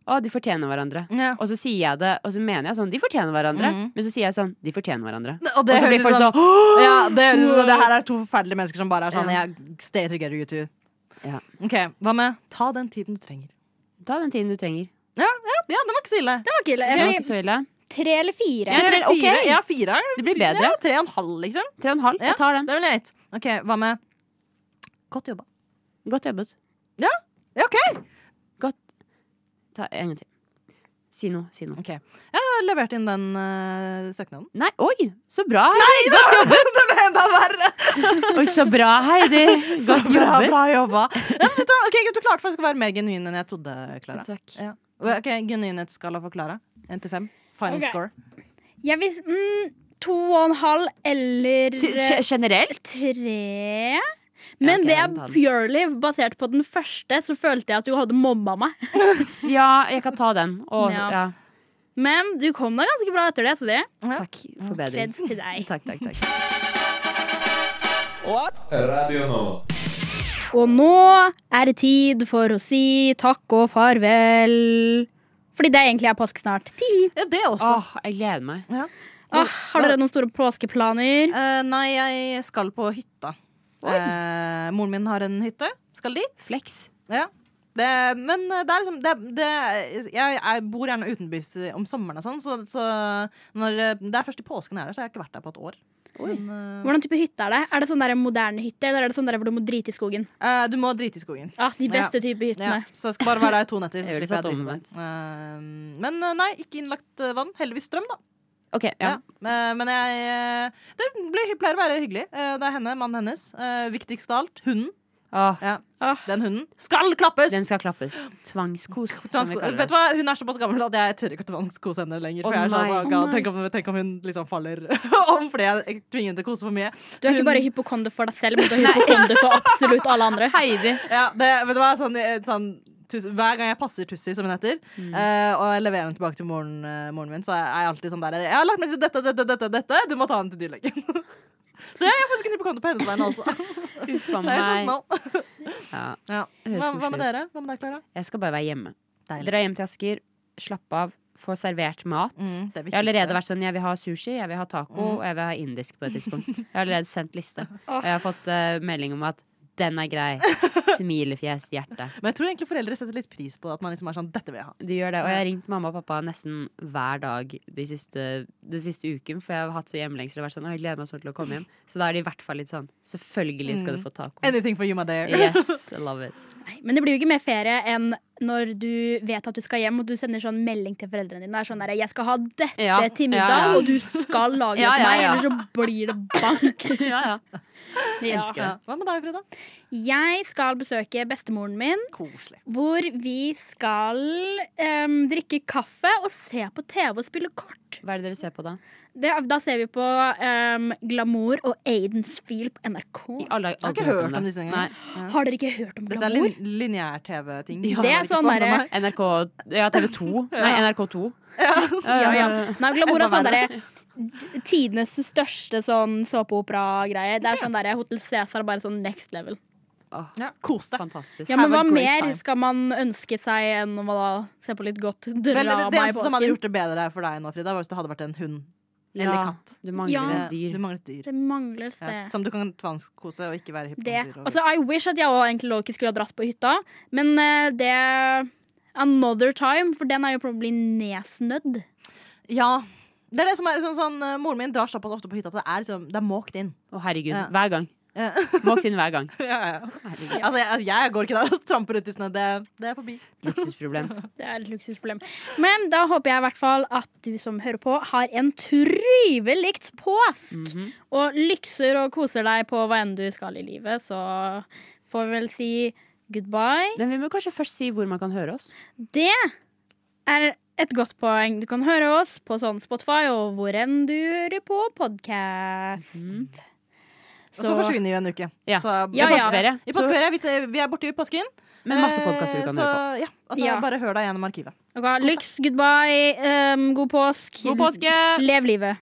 S6: Å, de fortjener hverandre.
S3: Ja.
S6: Og så sier jeg det, og så mener jeg sånn De fortjener hverandre.
S3: Mhm.
S6: Men så sier jeg sånn De fortjener hverandre.
S3: Og
S6: Og
S3: det
S6: så
S3: høres
S6: blir
S3: ut
S6: folk
S3: som
S6: sånn
S3: ja, det, høres ut som det her er to forferdelige mennesker som bare er sånn
S6: Ja.
S3: jeg, Stay together, you two.
S6: Ja.
S3: Ok, Hva med ta den tiden du trenger?
S6: Ta den tiden du trenger.
S3: Ja, det var ikke så ille. Eh,
S2: Det var ikke ille.
S6: Det var
S2: Eller
S6: ikke så ille.
S2: Tre eller fire.
S6: Ja,
S3: Tre eller
S6: ok.
S3: fire? Ja, fire. er-
S6: Det blir
S3: fire-
S6: bedre.
S3: Ja, tre og en halv, liksom.
S6: Tre og en halv.
S3: Ja.
S6: Jeg tar den.
S3: Det er vel greit. Ok, Hva med godt jobba?
S6: Godt jobbet.
S3: Ja, ok.
S6: Ta en gang til. Si noe. Si noe.
S3: Jeg har levert inn den eh, søknaden.
S6: Nei, oi! Så bra!
S3: Godt jobbet! det ble enda verre.
S6: Oi, så bra, Heidi! Godt jobbet.
S3: jobba. Ja, men vet du, hva? Ok, Du klarte faktisk å være mer genuin enn jeg trodde, Klara.
S6: Takk.
S3: Ja. Ok, Genuinhetsskala for Klara. Én til fem. Final
S2: Ok.
S3: score.
S2: Jeg vil mm, to og en halv eller
S6: Til- ge- Generelt?
S2: tre. Men
S6: ok,
S2: det
S6: den tar
S2: er
S6: den.
S2: purely basert på den første, så følte jeg at du hadde mobba meg.
S6: Ja, jeg kan ta den. Og,
S2: Ja.
S6: ja.
S2: Men du kom deg ganske bra etter det, så det
S6: Takk for bedring.
S2: kreds til deg.
S6: Takk, takk, takk.
S7: Radio Nova.
S2: Og nå er det tid for å si takk og farvel. Fordi det egentlig er påske snart. Ti.
S3: Ja, det også.
S6: Åh, jeg gleder meg.
S2: Åh, har dere noen store påskeplaner?
S3: Eh, nei, jeg skal på hytta. Eh, moren min har en hytte. Skal dit.
S6: Flex.
S3: Ja. Det, men det er liksom det, det, jeg, jeg bor gjerne utenbys om sommeren og sånn, så, så når eh, det er først i påsken jeg er der, så har jeg ikke vært der på et år. Men,
S2: Hvordan type hytte er det? Er det sånn der moderne hytte, eller er det sånn der hvor du må drite i skogen?
S3: eh, du må drite i skogen.
S2: Ah, de beste
S3: Ja.
S2: type
S3: Ja,
S2: hyttene.
S3: så jeg skal bare være der i to netter.
S6: Jeg
S3: slipper
S6: ville
S3: jeg
S6: satt
S3: drite i
S6: omvendt.
S3: meg. Eh, men eh, nei, ikke innlagt eh, vann. Heldigvis strøm, da.
S6: Ok, ja.
S3: Ja. Eh, Men jeg eh, Det blir, pleier å være hyggelig. Eh, Det er henne, mannen hennes. Eh, Viktigst av alt, hunden.
S6: Åh,
S3: Ja.
S2: Åh.
S3: Den hunden skal klappes!
S6: den skal klappes. Tvangskos, som vi
S3: Tvangsko- Vet du
S6: kaller det.
S3: hva, Hun er såpass gammel at jeg tør ikke å tvangskose henne lenger.
S6: Å
S3: For jeg er sånn,
S6: nei,
S3: «Å,
S6: å
S3: God,
S2: nei.
S3: tenk, om, tenk om hun liksom faller om fordi jeg tvinger henne til å kose for mye.
S2: Du er ikke bare hypokonder for deg selv, men du er hypokonder for absolutt alle andre.
S6: Heidi.
S3: Ja, det, vet du hva, sånn, eh, sånn, tus, Hver gang jeg passer Tussi, som hun heter,
S6: Mm.
S3: eh, og jeg leverer henne tilbake til moren, eh, moren min, så er jeg alltid sånn der Jeg har lagt merke til dette, dette, dette, dette. Du må ta henne til dyrlegen. så jeg er faktisk en hypokonder på hennes vegne også.
S6: Uffa
S3: Det er sånn
S6: meg.
S3: nå.
S6: Ja.
S3: Ja.
S6: Det høres
S3: Hva, hva med
S6: koselig ut.
S3: dere? Hva med deg, Klara?
S6: Jeg skal bare være hjemme.
S3: Deilig.
S6: Dra hjem til Asker, slappe av, få servert mat.
S3: Mm, det er
S6: Jeg har allerede
S3: viktigste. Mm.
S6: vært sånn, jeg vil ha sushi, jeg vil ha taco, og jeg vil ha indisk på et tidspunkt. Jeg har allerede sendt liste. Og jeg har fått eh, melding om at den er grei. Smilefjes, hjerte.
S3: Men jeg tror egentlig foreldre setter litt pris på at man liksom er sånn Dette vil jeg ha.
S6: Du gjør det, og jeg har ringt mamma og pappa nesten hver dag de siste, de siste uken, for jeg har hatt så hjemlengsel og vært sånn, «Å, jeg gleder meg sånn til å komme hjem. Så da er de i hvert fall litt sånn, selvfølgelig
S3: Mm.
S6: skal du få taco.
S3: Anything for you, my dear.
S6: Yes, I love it.
S2: Nei, Men det blir jo ikke mer ferie enn når du vet at du skal hjem, og du sender sånn melding til foreldrene dine. Det Er sånn der, 'Jeg skal ha dette
S6: Ja,
S2: til middag,
S6: ja, ja.
S2: og du skal lage
S6: Ja,
S2: det til
S6: ja,
S2: meg,
S6: ja.
S2: ellers så blir det bank'.
S6: Ja, ja.
S2: Ja.
S6: elsker
S3: Ja. Hva med deg, Frida?
S2: Jeg skal besøke bestemoren min,
S3: Koselig.
S2: hvor vi skal em, drikke kaffe og se på TV og spille kort.
S6: Hva er det dere ser på da?
S2: Det, da ser vi på em, Glamour og Aidens Feel på NRK.
S6: I alle,
S3: Jeg har ikke
S6: aldri
S3: hørt om disse
S6: Nei.
S3: engang.
S2: Har dere ikke hørt om
S3: Dette er
S2: Glamour?
S3: lin lineær-TV-ting.
S6: Ja.
S2: Det
S3: Jeg
S2: er
S3: har ikke
S2: sånn
S3: fått med
S2: derre-
S3: meg.
S6: NRK, ja, TV 2. Nei, NRK 2.
S2: Ja, ja. Nei, Glamour er
S6: Enda
S2: sånn derre d- tidenes største sånn såpeopera-greie. Det er sånn derre Hotel Cæsar, bare sånn next level.
S6: Åh,
S3: Ja. Kos deg.
S6: fantastisk.
S2: Ja, men
S3: Have
S2: hva
S3: a great
S2: mer
S3: time.
S2: skal man ønske seg enn å da se på litt godt
S3: Vel, det, det
S2: drama i
S3: eneste som hadde
S2: påsken?
S3: gjort det bedre for deg nå, Frida, var hvis det hadde vært en hund. Eller
S6: Ja,
S3: katt.
S6: Du mangler
S2: Ja.
S6: en
S3: Eh, Du
S6: dyr.
S3: mangler et dyr.
S2: Det mangler
S3: Ja.
S2: sted.
S3: Som du kan tvangskose og ikke være
S2: Det.
S3: hypokonder.
S2: Altså, I wish at jeg også egentlig lå ikke skulle ha dratt på hytta, men eh, det Another time, for den er jo probably nedsnødd.
S3: Ja. Det er det som er sånn, sånn eh, Moren min drar såpass ofte på hytta at det er, liksom, det er måkt inn.
S6: Å, herregud.
S3: Ja.
S6: Hver gang.
S3: Ja.
S6: Må finne hver gang.
S3: ja, ja.
S6: Herregud.
S3: Altså, jeg, jeg går ikke der og tramper ut i snø. Det, det er forbi.
S6: Luksusproblem.
S2: Det er et luksusproblem. Men da håper jeg i hvert fall at du som hører på, har en trivelikt påsk!
S6: Mhm.
S2: og lykser og koser deg på hva enn du skal i livet, så får vi vel si goodbye.
S6: Men vi må kanskje først si hvor man kan høre oss.
S2: Det er et godt poeng. Du kan høre oss på sånn Spotify og hvor enn du hører på podkast.
S3: Og så forsvinner vi jo en uke.
S6: Ja.
S3: Så,
S6: Ja,
S2: Ja,
S6: I
S2: ja.
S6: påskeferie.
S3: I påskeferie. Vi, vi er borte i påsken.
S6: Men masse
S3: Eh,
S6: podkaster du kan
S3: så,
S6: høre på.
S3: Ja, altså,
S2: Ja.
S3: Bare hør deg gjennom arkivet.
S2: Ok, Lyx, goodbye, um, god påsk.
S6: God påske!
S2: Lev livet.